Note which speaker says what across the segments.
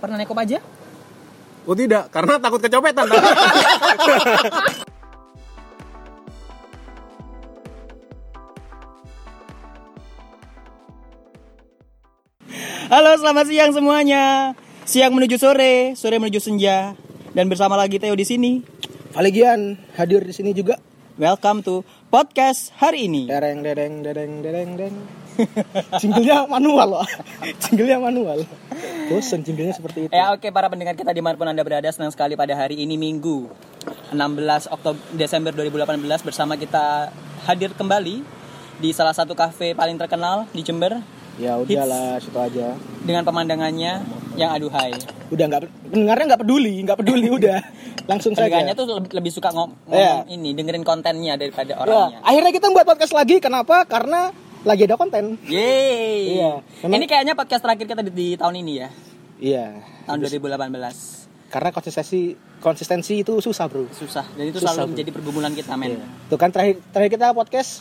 Speaker 1: Pernah naik Kopaja?
Speaker 2: Oh tidak, karena takut kecopetan.
Speaker 1: Halo, selamat siang semuanya. Siang menuju sore, sore menuju senja. Dan bersama lagi Teo di sini.
Speaker 3: Valegian hadir di sini juga.
Speaker 1: Welcome to podcast hari ini.
Speaker 3: Dereng dereng dereng dereng dereng. Jinglenya manual loh. Jinglenya manual. Bosen jinglenya seperti itu.
Speaker 1: Eh oke para pendengar kita dimanapun anda berada senang sekali pada hari ini Minggu 16 Oktober Desember 2018 bersama kita hadir kembali di salah satu kafe paling terkenal di Jember
Speaker 3: Ya udahlah, situ aja.
Speaker 1: dengan pemandangannya yang aduhai.
Speaker 3: Udah nggak pendengarnya nggak peduli, nggak peduli udah. Langsung
Speaker 1: Pendengarnya
Speaker 3: saja.
Speaker 1: tuh lebih, lebih suka ngom- ngomong
Speaker 3: Iya.
Speaker 1: ini dengerin kontennya daripada
Speaker 3: Ya,
Speaker 1: orangnya.
Speaker 3: akhirnya kita buat podcast lagi. Kenapa? Karena lagi ada konten.
Speaker 1: Yeay.
Speaker 3: Iya, memang-
Speaker 1: Ini kayaknya podcast terakhir kita di, di tahun ini ya,
Speaker 3: Iya.
Speaker 1: tahun 2018.
Speaker 3: Karena konsistensi konsistensi itu susah, Bro.
Speaker 1: Susah dan itu
Speaker 3: Susah,
Speaker 1: selalu
Speaker 3: Bu.
Speaker 1: menjadi pergumulan kita men.
Speaker 3: Tuh kan terakhir terakhir kita podcast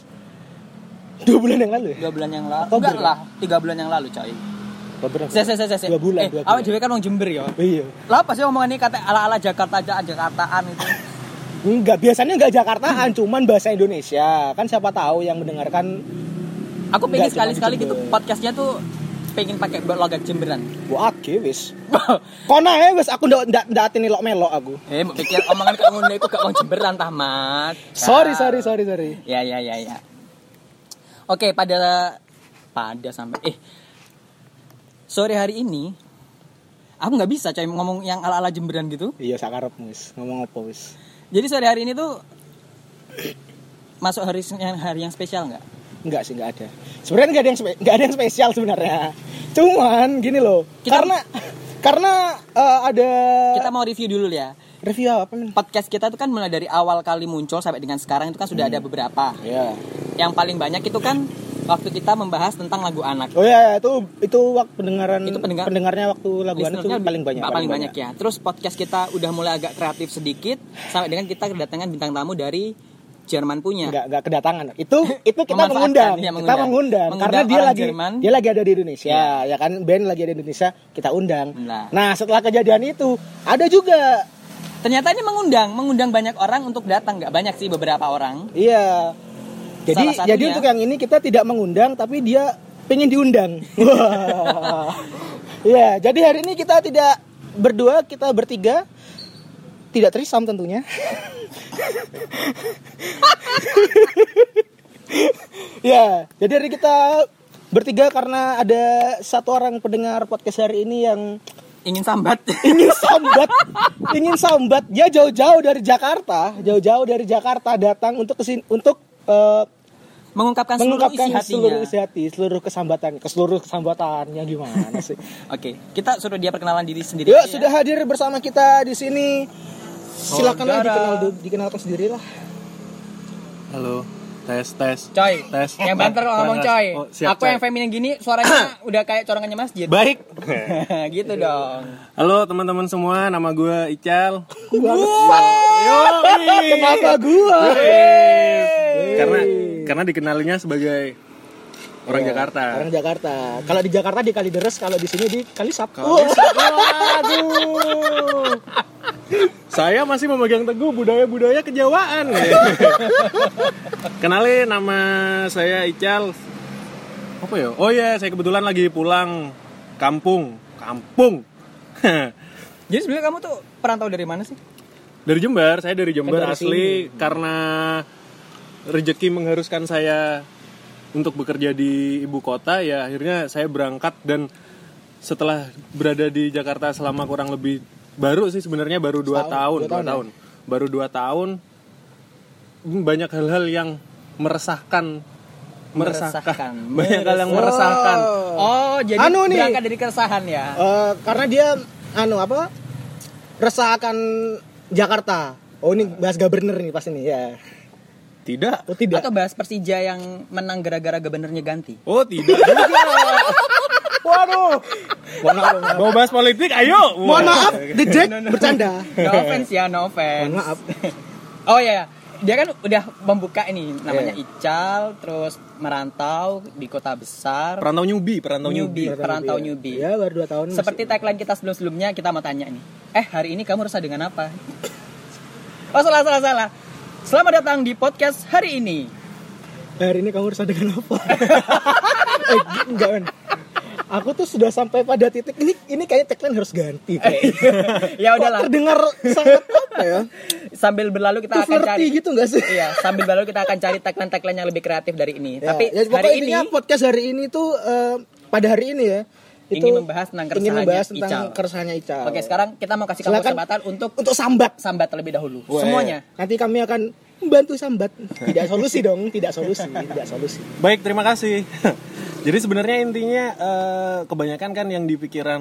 Speaker 3: dua bulan yang lalu ya.
Speaker 1: Dua bulan yang lalu,
Speaker 3: Oktober.
Speaker 1: enggak lah, tiga bulan yang lalu coy.
Speaker 3: Oktober.
Speaker 1: Saya
Speaker 2: Iya.
Speaker 1: saya saya saya.
Speaker 3: Dua bulan,
Speaker 1: Eh,
Speaker 3: dua
Speaker 1: awak
Speaker 3: bulan.
Speaker 1: dhewe kan wong Jember ya.
Speaker 3: Iya.
Speaker 1: Lah apa sih omongan ini kata ala-ala Jakarta aja Jakartaan itu.
Speaker 3: Enggak, biasanya enggak Jakartaan, cuman bahasa Indonesia. Kan siapa tahu yang mendengarkan,
Speaker 1: Aku pengen
Speaker 3: Enggak, cuma di
Speaker 1: sekali-sekali gitu
Speaker 3: Jember.
Speaker 1: podcastnya tuh pengen pakai logak Jemberan.
Speaker 3: wah oke, wis. Kono ya wis aku ndak ndak ndak atini lok melok aku.
Speaker 1: eh, mbok pikir omongan kayak ngono iku gak wong Jemberan tah, Mat.
Speaker 3: Sorry,
Speaker 1: Ya.
Speaker 3: sorry, sorry, sorry.
Speaker 1: Ya ya ya ya. Oke pada pada sampai eh sore hari ini aku nggak bisa coy ngomong yang ala ala jemberan gitu.
Speaker 3: Iya, sakarep wis. Ngomong apa wis?
Speaker 1: Jadi sore hari ini tuh masuk hari sen- yang hari yang spesial nggak?
Speaker 3: Enggak sih, enggak ada. Sebenarnya enggak ada yang spe- enggak ada yang spesial sebenarnya. Cuman gini loh.
Speaker 1: Kita-
Speaker 3: karena karena eh, ada
Speaker 1: Kita mau review dulu ya.
Speaker 3: review apa men?
Speaker 1: Podcast kita tuh kan mulai dari awal kali muncul sampai dengan sekarang itu kan sudah ada beberapa.
Speaker 3: Iya.
Speaker 1: Yang paling banyak itu kan waktu kita membahas tentang lagu anak.
Speaker 3: Oh iya, iya, itu itu waktu pendengaran
Speaker 1: Itu pendengar-
Speaker 3: pendengarnya waktu lagu anak itu
Speaker 1: Listenernya
Speaker 3: paling banyak.
Speaker 1: paling, banyak, ya. Terus podcast kita udah mulai agak kreatif sedikit sampai dengan kita kedatangan bintang tamu dari Jerman punya.
Speaker 3: nggak nggak kedatangan itu itu kita
Speaker 1: Iya. Memanfaatkan,
Speaker 3: mengundang,
Speaker 1: iya,
Speaker 3: kita
Speaker 1: mengundang.
Speaker 3: mengundang,
Speaker 1: Mengundang
Speaker 3: karena dia
Speaker 1: orang
Speaker 3: lagi
Speaker 1: Jerman. Iya.
Speaker 3: dia lagi ada di Indonesia ya kan band lagi ada di Indonesia kita undang
Speaker 1: Nah.
Speaker 3: nah setelah kejadian itu ada juga
Speaker 1: Ternyata ini mengundang, mengundang banyak orang untuk datang. Nggak banyak sih beberapa orang.
Speaker 3: iya
Speaker 1: Salah
Speaker 3: jadi
Speaker 1: satunya-
Speaker 3: jadi untuk yang ini kita tidak mengundang tapi dia pengen diundang Wah. Iya, jadi hari ini kita tidak berdua kita bertiga tidak terisam tentunya Ya, jadi hari kita bertiga karena ada satu orang pendengar podcast hari ini yang
Speaker 1: Ingin sambat.
Speaker 3: ingin sambat, ingin sambat. Dia jauh-jauh dari Jakarta, jauh-jauh dari Jakarta datang untuk kesin, untuk eh,
Speaker 1: mengungkapkan,
Speaker 3: mengungkapkan
Speaker 1: seluruh isi hatinya.
Speaker 3: seluruh isi hati, seluruh kesambatan, ke seluruh kesambatannya gimana sih?
Speaker 1: Oke, kita suruh dia perkenalan diri sendiri.
Speaker 3: Yuk,
Speaker 1: aja ya.
Speaker 3: sudah hadir bersama kita di sini. Silakanlah
Speaker 1: Saudara.
Speaker 3: dikenal dikenalkan sendirilah.
Speaker 2: Halo, tes tes.
Speaker 1: Coy,
Speaker 2: Tes.
Speaker 1: yang banter kalau ngomong coy.
Speaker 2: Oh, siap,
Speaker 1: Aku
Speaker 2: coy.
Speaker 1: yang feminin gini suaranya udah kayak corongannya masjid.
Speaker 2: Baik.
Speaker 1: gitu dong.
Speaker 2: Halo teman-teman semua, nama gue Ical.
Speaker 3: Kenapa gua?
Speaker 2: Karena karena dikenalinya sebagai orang Jakarta.
Speaker 3: Orang Jakarta. Kalau di Jakarta di Kalideres, kalau di sini di Kalisap.
Speaker 2: Waduh. Saya masih memegang teguh budaya-budaya kejawaan. Kenalin nama saya Ical. Apa ya? Oh iya, saya kebetulan lagi pulang kampung. Kampung.
Speaker 1: Jadi sebenarnya kamu tuh perantau dari mana sih?
Speaker 2: dari Jember, saya dari Jember
Speaker 3: Dari
Speaker 2: asli karena rezeki mengharuskan saya untuk bekerja di ibu kota ya akhirnya saya berangkat dan setelah berada di Jakarta selama kurang lebih baru sih sebenarnya baru dua tahun, dua tahun. baru dua tahun hmm, banyak hal-hal yang meresahkan meresahkan,
Speaker 1: Meresahkan.
Speaker 2: banyak hal yang meresahkan
Speaker 1: Oh, jadi
Speaker 3: Anu nih.
Speaker 1: berangkat dari keresahan ya.
Speaker 3: Eh, karena dia anu apa? Resahkan Jakarta. Oh ini bahas governor nih pas ini ya.
Speaker 2: tidak
Speaker 3: Oh tidak.
Speaker 1: Atau bahas Persija yang menang gara-gara gubernurnya ganti.
Speaker 2: oh tidak juga
Speaker 3: Waduh. Mohon maaf, mohon maaf.
Speaker 2: mau bahas politik ayo
Speaker 3: Mohon maaf, The Jack bercanda.
Speaker 1: No offense ya, no
Speaker 3: Mohon
Speaker 1: offense.
Speaker 3: maaf.
Speaker 1: Oh ya, dia kan udah membuka ini namanya
Speaker 3: Iya.
Speaker 1: Ical terus merantau di kota besar
Speaker 2: Perantau nyubi, perantau nyubi.
Speaker 1: newbie perantau newbie
Speaker 3: Ya baru 2 tahun. masih-
Speaker 1: seperti tagline kita sebelum sebelumnya kita mau tanya nih eh hari ini kamu resah dengan apa oh salah salah salah selamat datang di podcast hari ini
Speaker 3: hari ini kamu resah dengan apa? eh, enggak men. Aku tuh sudah sampai pada titik ini ini kayaknya tagline harus ganti. Kayak.
Speaker 1: ya
Speaker 3: Kok
Speaker 1: udahlah
Speaker 3: terdengar sangat apa ya?
Speaker 1: sambil berlalu
Speaker 3: Itu
Speaker 1: kita akan
Speaker 3: flirty
Speaker 1: cari
Speaker 3: gitu enggak sih?
Speaker 1: iya sambil berlalu kita akan cari tagline tagline yang lebih kreatif dari ini
Speaker 3: Ya,
Speaker 1: tapi
Speaker 3: ya, pokoknya
Speaker 1: hari ini
Speaker 3: intinya podcast hari ini tuh eh, pada hari ini ya itu
Speaker 1: Ingin membahas tentang
Speaker 3: ingin
Speaker 1: keresahannya
Speaker 3: membahas tentang
Speaker 1: Ical.
Speaker 3: keresahannya Ical.
Speaker 1: oke sekarang kita mau kasih kamu
Speaker 3: Silakan.
Speaker 1: kesempatan untuk
Speaker 3: untuk sambat
Speaker 1: sambat terlebih dahulu
Speaker 2: Weh.
Speaker 1: semuanya
Speaker 3: nanti kami akan membantu sambat tidak solusi dong tidak solusi tidak solusi
Speaker 2: Baik, terima kasih. Jadi sebenarnya intinya eh, kebanyakan kan yang di pikiran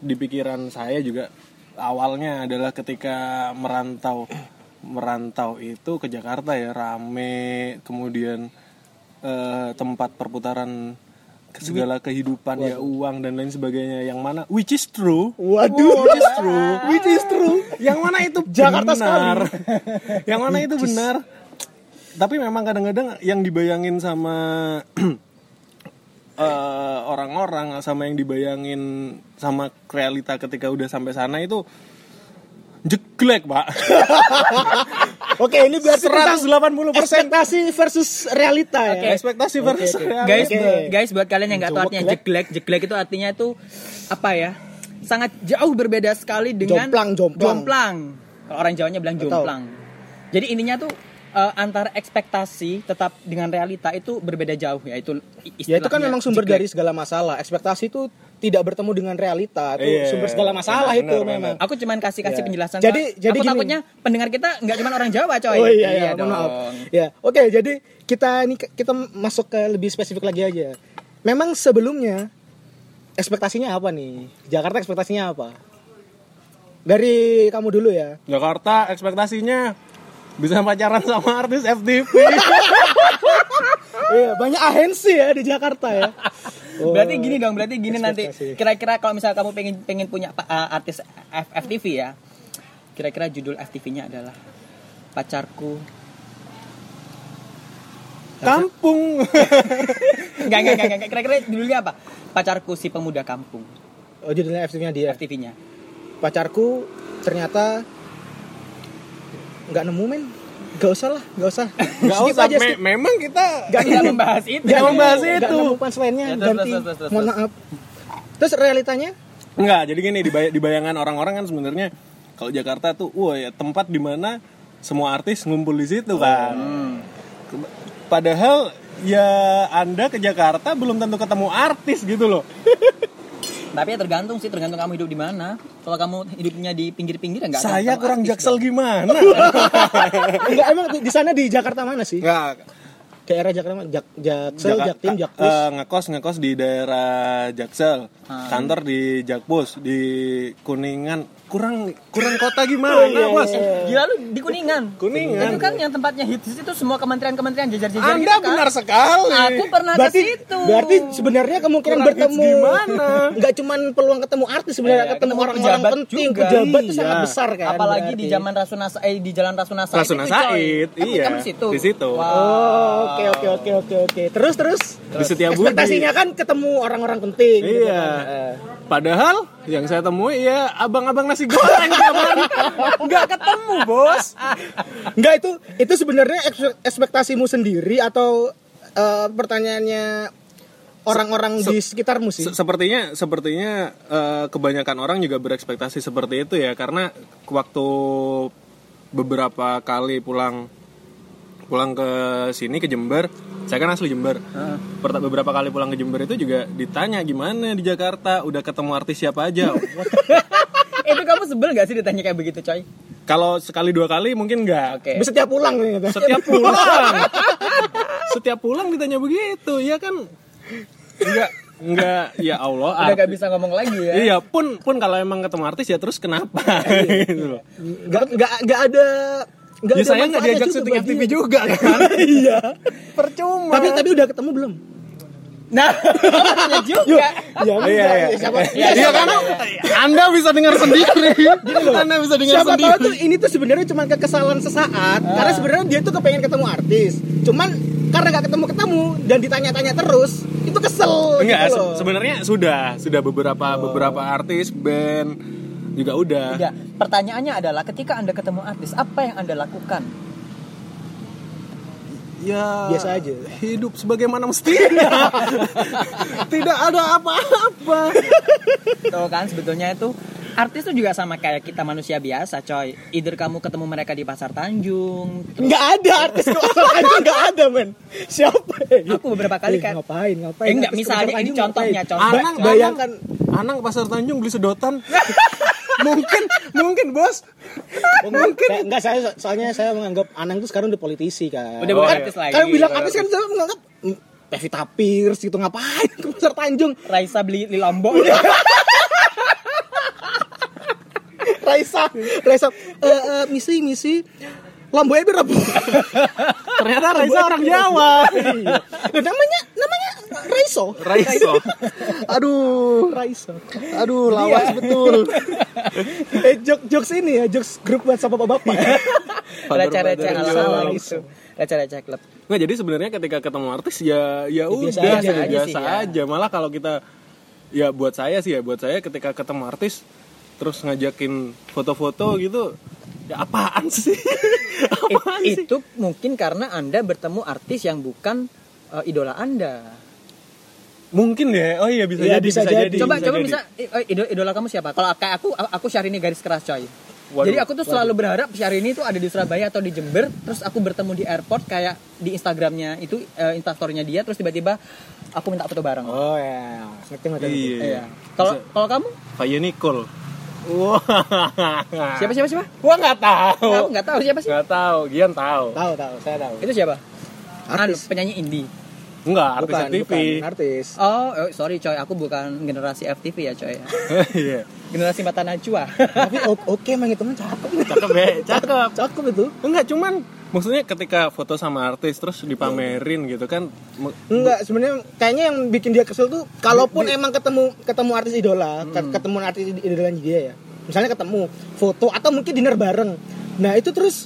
Speaker 2: di pikiran saya juga awalnya adalah ketika merantau merantau itu ke Jakarta ya rame kemudian eh, tempat perputaran segala kehidupan ya uang dan lain sebagainya yang mana which is true
Speaker 3: waduh
Speaker 2: which is true
Speaker 3: which is true
Speaker 2: yang mana itu
Speaker 3: Jakarta
Speaker 2: benar yang mana itu benar tapi memang kadang-kadang yang dibayangin sama eh, orang-orang sama yang dibayangin sama realita ketika udah sampai sana itu jeglek pak
Speaker 3: oke ini berarti tentang
Speaker 2: 180
Speaker 3: ekspektasi versus realita ya
Speaker 1: Oke.
Speaker 2: ekspektasi versus realita.
Speaker 1: guys
Speaker 3: Oke.
Speaker 1: bu- guys buat kalian yang nggak tahu
Speaker 2: Jowok
Speaker 1: artinya
Speaker 2: lek.
Speaker 1: jeglek jeglek itu artinya itu apa ya sangat jauh berbeda sekali dengan
Speaker 3: Jomplang, jomplang.
Speaker 1: jomplang. Kalau orang Jawanya bilang jomplang jadi intinya tuh eh, antara ekspektasi tetap dengan realita itu berbeda jauh ya itu i-
Speaker 3: ya itu kan
Speaker 1: istilahnya
Speaker 3: memang sumber
Speaker 1: jeglek.
Speaker 3: dari segala masalah ekspektasi itu tidak bertemu dengan realita itu
Speaker 2: Iya,
Speaker 3: sumber segala masalah
Speaker 2: benar,
Speaker 3: itu
Speaker 2: benar,
Speaker 3: memang
Speaker 1: aku cuman kasih kasih penjelasan
Speaker 3: Ya. Jadi-
Speaker 1: soal-
Speaker 3: jadi
Speaker 1: aku
Speaker 3: gini.
Speaker 1: takutnya pendengar kita nggak cuman orang Jawa coy
Speaker 3: Oh iya, iya,
Speaker 1: dong.
Speaker 3: mohon maaf. Ya, oke. jadi kita ini kita masuk ke lebih spesifik lagi aja. Memang sebelumnya ekspektasinya apa nih? Jakarta ekspektasinya apa? Dari kamu dulu ya.
Speaker 2: Jakarta ekspektasinya bisa pacaran sama artis FTV
Speaker 3: Iya, banyak ahensi ya di Jakarta ya. Oh,
Speaker 1: berarti gini dong berarti gini nanti
Speaker 3: ekspektasi.
Speaker 1: kira-kira kalau misalnya kamu pengen pengen punya uh, artis F- FTV ya kira-kira judul FTV-nya adalah pacarku
Speaker 2: kampung
Speaker 1: Enggak, enggak, enggak, enggak. Kira-kira judulnya apa? Pacarku si pemuda kampung.
Speaker 3: Oh, judulnya FTV-nya dia.
Speaker 1: FTV-nya.
Speaker 3: Pacarku ternyata nggak nemu men. Gak usah lah, gak usah.
Speaker 2: nggak
Speaker 3: Skip
Speaker 2: usah
Speaker 3: aja,
Speaker 2: me-
Speaker 3: skip.
Speaker 2: memang kita
Speaker 1: Gak kita membahas itu.
Speaker 2: Nggak membahas itu.
Speaker 3: Nggak nemu punchline-nya,
Speaker 1: Ya, terus,
Speaker 3: ganti.
Speaker 1: terus, terus, terus,
Speaker 3: Mohon
Speaker 1: terus.
Speaker 3: maaf. Terus realitanya?
Speaker 2: Enggak, jadi gini di bay- di bayangan orang-orang kan sebenarnya kalau Jakarta tuh wah ya tempat dimana semua artis ngumpul di situ
Speaker 1: Oh.
Speaker 2: kan.
Speaker 1: Hmm.
Speaker 2: Ke- Padahal ya Anda ke Jakarta belum tentu ketemu artis gitu loh.
Speaker 1: Tapi ya tergantung sih, tergantung kamu hidup di mana. Kalau kamu hidupnya di pinggir-pinggir ya enggak akan
Speaker 2: Saya
Speaker 1: ketemu
Speaker 2: kurang
Speaker 1: artis
Speaker 2: jaksel
Speaker 1: dong.
Speaker 2: gimana?
Speaker 3: Enggak emang di- di sana di Jakarta mana sih?
Speaker 2: Enggak.
Speaker 3: Daerah Jakarta mana? Jak Jaksel,
Speaker 2: Jaka-
Speaker 3: Jaktim,
Speaker 2: ka-
Speaker 3: Jakpus.
Speaker 2: eh, ngekos ngekos di daerah Jaksel,
Speaker 1: Hmm.
Speaker 2: kantor di Jakpus, di Kuningan. Kurang kurang kota
Speaker 1: Oh,
Speaker 2: gimana,
Speaker 1: iya,
Speaker 2: Bos?
Speaker 1: Ah, Gila lu di Kuningan.
Speaker 2: iya. Kuningan.
Speaker 1: Itu kan yang tempatnya hits itu semua kementerian-kementerian jajar-jajar
Speaker 2: Anda
Speaker 1: gitu kan.
Speaker 2: benar sekali.
Speaker 1: Aku pernah
Speaker 3: berarti
Speaker 1: ke situ.
Speaker 3: berarti sebenarnya kemungkinan
Speaker 2: Kurang
Speaker 3: bertemu
Speaker 2: hits gimana?
Speaker 3: Enggak cuman peluang ketemu artis sebenarnya
Speaker 1: Iya,
Speaker 3: ketemu
Speaker 1: ketemu
Speaker 3: orang-orang
Speaker 1: pejabat
Speaker 3: penting,
Speaker 1: juga.
Speaker 3: pejabat itu
Speaker 2: Iya.
Speaker 3: sangat besar kan.
Speaker 1: apalagi
Speaker 3: berarti.
Speaker 1: di zaman Rasuna Sa- eh, di Jalan Rasuna Said.
Speaker 2: Rasuna
Speaker 1: itu, coy.
Speaker 2: Said,
Speaker 1: Kamu-
Speaker 2: iya.
Speaker 1: kamu situ.
Speaker 2: Di situ.
Speaker 1: Wah.
Speaker 3: Oh, oke oke oke oke oke. Terus terus
Speaker 2: Di setiap
Speaker 3: ekspektasinya kan ketemu orang-orang penting gitu
Speaker 2: Iya.
Speaker 3: kan. Eh,
Speaker 2: Padahal yang saya temui ya abang-abang nasi goreng tiap hari. Nggak ketemu bos.
Speaker 3: Enggak itu itu sebenarnya eks- ekspektasimu sendiri atau eh, pertanyaannya orang-orang di sekitarmu sih?
Speaker 2: Se- Sepertinya sepertinya eh, kebanyakan orang juga berekspektasi seperti itu ya karena waktu beberapa kali pulang pulang ke sini ke Jember, saya kan asli Jember. Perta- Beberapa kali pulang ke Jember itu juga ditanya gimana di Jakarta, udah ketemu artis siapa aja.
Speaker 1: Eh, itu kamu sebel gak sih ditanya kayak begitu, coy?
Speaker 2: Kalau sekali dua kali mungkin nggak.
Speaker 1: Oke.
Speaker 3: Bisa tiap pulang ternyata.
Speaker 2: setiap pulang setiap pulang ditanya begitu ya kan enggak Iya, enggak ya Allah
Speaker 1: Udah
Speaker 2: arti-
Speaker 1: gak bisa ngomong lagi ya.
Speaker 2: iya pun pun kalau emang ketemu artis ya terus kenapa gitu loh
Speaker 3: nggak nggak nggak ada Iya. nggak
Speaker 2: ya
Speaker 3: ada
Speaker 2: saya nggak
Speaker 3: manfaatnya
Speaker 2: diajak
Speaker 3: juga
Speaker 2: syuting
Speaker 3: buat
Speaker 2: FTV
Speaker 3: dia.
Speaker 2: juga kan
Speaker 3: iya
Speaker 2: percuma
Speaker 3: tapi tapi udah ketemu belum Nah,
Speaker 1: Tanya juga.
Speaker 3: ya,
Speaker 2: Iya, iya.
Speaker 3: siapa?
Speaker 2: Iya kan? Anda bisa dengar sendiri. Anda bisa dengar
Speaker 3: Siapa tahu
Speaker 2: sendiri.
Speaker 3: tuh ini tuh sebenarnya cuma kekesalan sesaat karena sebenarnya dia tuh kepengen ketemu artis. Cuman karena gak ketemu-ketemu dan ditanya-tanya terus, itu kesel
Speaker 2: Enggak,
Speaker 3: gitu
Speaker 2: se-
Speaker 3: loh.
Speaker 2: sebenarnya sudah, sudah beberapa beberapa artis band juga udah.
Speaker 1: Tidak. Pertanyaannya adalah ketika Anda ketemu artis, apa yang Anda lakukan?
Speaker 2: Ya
Speaker 3: Biasa aja.
Speaker 2: Hidup sebagaimana mestinya. Tidak ada apa-apa.
Speaker 1: Tuh kan sebetulnya itu artis tuh juga sama kayak kita manusia biasa, coy. Either kamu ketemu mereka di pasar Tanjung, terus
Speaker 3: Nggak ada artis kosong aja nggak ada men. Siapa? ya?
Speaker 1: aku beberapa kali
Speaker 3: Eh,
Speaker 1: kayak
Speaker 3: ngapain ngapain?
Speaker 1: Eh, enggak,
Speaker 3: Artis
Speaker 1: misalnya
Speaker 3: kosong
Speaker 1: ini
Speaker 3: aja
Speaker 1: contohnya,
Speaker 3: ngapain?
Speaker 1: contoh.
Speaker 3: Ba- bayangkan
Speaker 2: Anang pasar Tanjung beli sedotan. mungkin, mungkin bos.
Speaker 3: mungkin enggak saya so- soalnya saya menganggap Anang tuh sekarang udah politisi kan.
Speaker 1: Udah
Speaker 2: bukan
Speaker 3: Kan-
Speaker 1: artis lagi.
Speaker 3: Kan bilang artis kan saya menganggap mm, Pevita Pierce gitu ngapain ke pasar Tanjung
Speaker 1: Raisa beli di Lombok.
Speaker 3: Raisa Raisa eh eh, misi misi Lamboya biar apa?
Speaker 2: Ternyata Raisa orang Jawa.
Speaker 3: Nah, namanya namanya Raiso.
Speaker 2: Raiso. Aduh,
Speaker 3: Raiso.
Speaker 2: aduh lawas betul.
Speaker 3: Eh jokes jokes ini ya jokes grup WhatsApp bapak-bapak.
Speaker 1: Receh-receh
Speaker 2: Father,
Speaker 1: ala
Speaker 2: father,
Speaker 1: ala
Speaker 2: jokes.
Speaker 1: gitu. Receh-receh klub.
Speaker 2: Nggak jadi sebenarnya ketika ketemu artis ya ya udah
Speaker 3: biasa
Speaker 2: biasa,
Speaker 3: aja,
Speaker 2: aja,
Speaker 1: biasa sih, ya.
Speaker 2: Malah kalau kita ya buat saya sih ya buat saya ketika ketemu artis terus ngajakin foto-foto gitu ya apaan sih?
Speaker 1: It-
Speaker 2: apaan sih?
Speaker 1: itu mungkin karena Anda bertemu artis yang bukan eh, idola Anda.
Speaker 2: Mungkin ya. Oh iya bisa
Speaker 3: Iya,
Speaker 2: jadi
Speaker 3: bisa jadi.
Speaker 1: Coba coba
Speaker 2: jadi.
Speaker 1: bisa eh, eh, ido- idola kamu siapa? Kalau kayak aku aku Syahrini garis keras coy.
Speaker 2: Waduh,
Speaker 1: Jadi aku tuh selalu berharap Syahrini itu ada di Surabaya atau di Jember, terus aku bertemu di airport kayak di Instagramnya itu eh, instastorynya dia, terus tiba-tiba aku minta foto bareng.
Speaker 3: Oh ya, ngerti ngerti. ngerti.
Speaker 2: Iya.
Speaker 1: Iya. Kalau kalau kamu
Speaker 2: Kayak Nicole. Wah.
Speaker 1: siapa siapa siapa?
Speaker 2: Ah. Gua nggak tahu.
Speaker 1: Kamu nggak tahu siapa sih?
Speaker 2: Nggak tahu. Gian tahu.
Speaker 3: Tahu tahu, saya tahu.
Speaker 1: Itu siapa? Anu,
Speaker 3: Artis.
Speaker 1: penyanyi indie.
Speaker 2: Enggak, artis
Speaker 3: bukan,
Speaker 2: TV.
Speaker 3: bukan artis.
Speaker 1: Oh, eh, sorry coy, aku bukan generasi FTV ya coy.
Speaker 2: Iya.
Speaker 1: Generasi mata najwa.
Speaker 3: Tapi o- oke emang itu mah cakep.
Speaker 2: Cakep ya, cakep.
Speaker 3: Cakep itu.
Speaker 2: Enggak, cuman maksudnya ketika foto sama artis terus dipamerin gitu kan me-
Speaker 3: Enggak, sebenarnya kayaknya yang bikin dia kesel tuh kalaupun emang ketemu ketemu artis idola, ke- ketemu artis id- idolanya dia ya. Misalnya ketemu foto atau mungkin dinner bareng. Nah, itu terus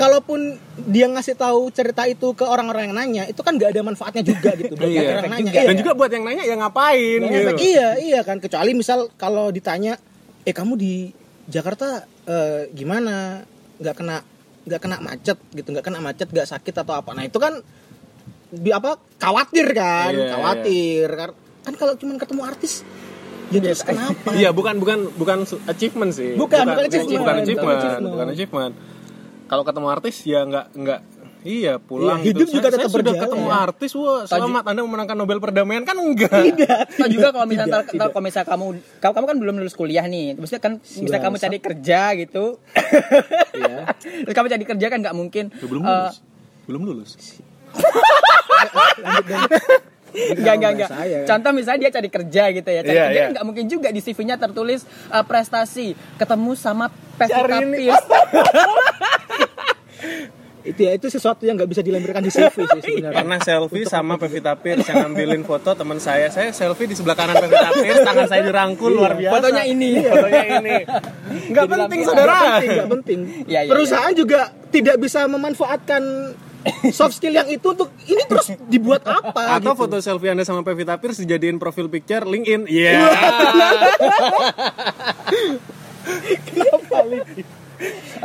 Speaker 3: kalaupun dia ngasih tahu cerita itu ke orang-orang yang nanya, itu kan nggak ada manfaatnya juga gitu. buat
Speaker 2: Iya.
Speaker 3: orang yang nanya.
Speaker 2: dan
Speaker 3: Iya.
Speaker 2: juga buat yang nanya ya ngapain
Speaker 3: Nggak
Speaker 2: gitu.
Speaker 3: efek, iya, iya kan kecuali misal kalau ditanya, "Eh, kamu di Jakarta eh, gimana? nggak kena nggak kena macet gitu, nggak kena macet, nggak sakit atau apa." Nah, itu kan di apa khawatir kan?
Speaker 2: Iya,
Speaker 3: khawatir. Kar- Kan kalau cuma ketemu artis ya terus kenapa?
Speaker 2: Iya, bukan bukan bukan su- achievement sih.
Speaker 3: Bukan, bukan achievement.
Speaker 2: Bukan achievement,
Speaker 3: Bukan achievement.
Speaker 2: bukan achievement. Kalau ketemu artis ya nggak nggak Iya, pulang
Speaker 3: Iya, hidup
Speaker 2: gitu.
Speaker 3: juga
Speaker 2: Saya-
Speaker 3: tetap
Speaker 2: saya sudah
Speaker 3: berjalan.
Speaker 2: ketemu artis, wah, selamat Anda memenangkan Nobel perdamaian kan enggak.
Speaker 1: Atau juga kalau misalnya
Speaker 3: Tidak,
Speaker 1: ntar- ntar kalau misalnya kamu kamu, kamu kan belum lulus kuliah nih, maksudnya kan misalnya kamu cari kerja gitu, terus kamu cari kerja kan nggak mungkin.
Speaker 2: Ya, Iya. belum
Speaker 1: eh,
Speaker 2: lulus. belum lulus.
Speaker 1: Enggak, enggak, enggak.
Speaker 3: Saya, kan?
Speaker 1: Contoh misalnya dia cari kerja gitu ya. Cari
Speaker 2: Iya,
Speaker 1: kerja
Speaker 2: iya.
Speaker 1: kan nggak mungkin juga di CV-nya tertulis eh, prestasi ketemu sama Pevita
Speaker 2: Syahrini.
Speaker 1: Pierce.
Speaker 3: Itu ya itu sesuatu yang nggak bisa dilampirkan di CV sih sebenarnya.
Speaker 2: Pernah selfie sama Pevita Pierce yang ngambilin foto teman saya. Saya selfie di sebelah kanan Pevita Pierce, tangan saya dirangkul luar biasa.
Speaker 1: Iya,
Speaker 2: Iya,
Speaker 1: Fotonya ini.
Speaker 2: Fotonya ini. Enggak
Speaker 1: Jadi
Speaker 2: penting,
Speaker 1: lampion.
Speaker 2: Saudara.
Speaker 3: Nggak penting, nggak penting.
Speaker 1: Iya, iya,
Speaker 3: Perusahaan juga tidak bisa memanfaatkan soft skill yang itu untuk ini terus dibuat apa gitu.
Speaker 2: Atau foto selfie Anda sama Pevita Pierce dijadiin profil picture LinkedIn. Iya.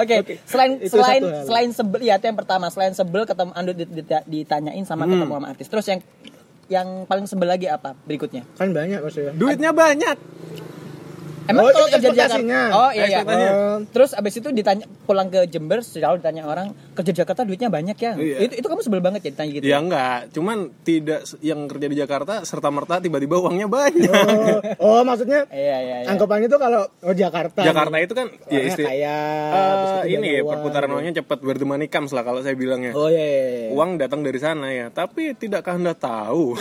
Speaker 1: Oke, selain
Speaker 3: Itu
Speaker 1: selain
Speaker 3: satu hal.
Speaker 1: selain sebel ya itu yang pertama, selain sebel ketemu Anda dit- dit- ditanyain sama
Speaker 3: Hmm.
Speaker 1: ketemu sama artis. Terus yang yang paling sebel lagi apa berikutnya?
Speaker 3: Kan banyak maksudnya.
Speaker 2: Duitnya banyak.
Speaker 1: Emang
Speaker 3: Oh,
Speaker 1: kalau
Speaker 3: itu
Speaker 1: kerja di Jakarta.
Speaker 3: ekspektasinya.
Speaker 1: Oh iya iya.
Speaker 2: Ekspektasinya.
Speaker 1: Oh. Terus abis itu ditanya pulang ke Jember selalu ditanya orang kerja di Jakarta duitnya banyak ya.
Speaker 2: Iya.
Speaker 1: Itu itu kamu sebel banget ya ditanya gitu.
Speaker 3: Iya.
Speaker 2: Ya enggak, cuman tidak se- yang kerja di Jakarta serta merta tiba-tiba uangnya banyak.
Speaker 3: Oh, oh, maksudnya
Speaker 1: Iya iya iya.
Speaker 3: anggapannya tuh kalau oh Jakarta.
Speaker 2: Jakarta itu kan ya
Speaker 3: Orangnya
Speaker 2: isti-
Speaker 3: kaya,
Speaker 2: Eh,
Speaker 3: habis itu
Speaker 2: ini
Speaker 3: jagoan.
Speaker 2: perputaran uangnya cepat where the money comes lah kalau saya bilangnya.
Speaker 3: Oh iya. iya, iya.
Speaker 2: Uang datang dari sana ya, tapi tidakkah Anda tahu?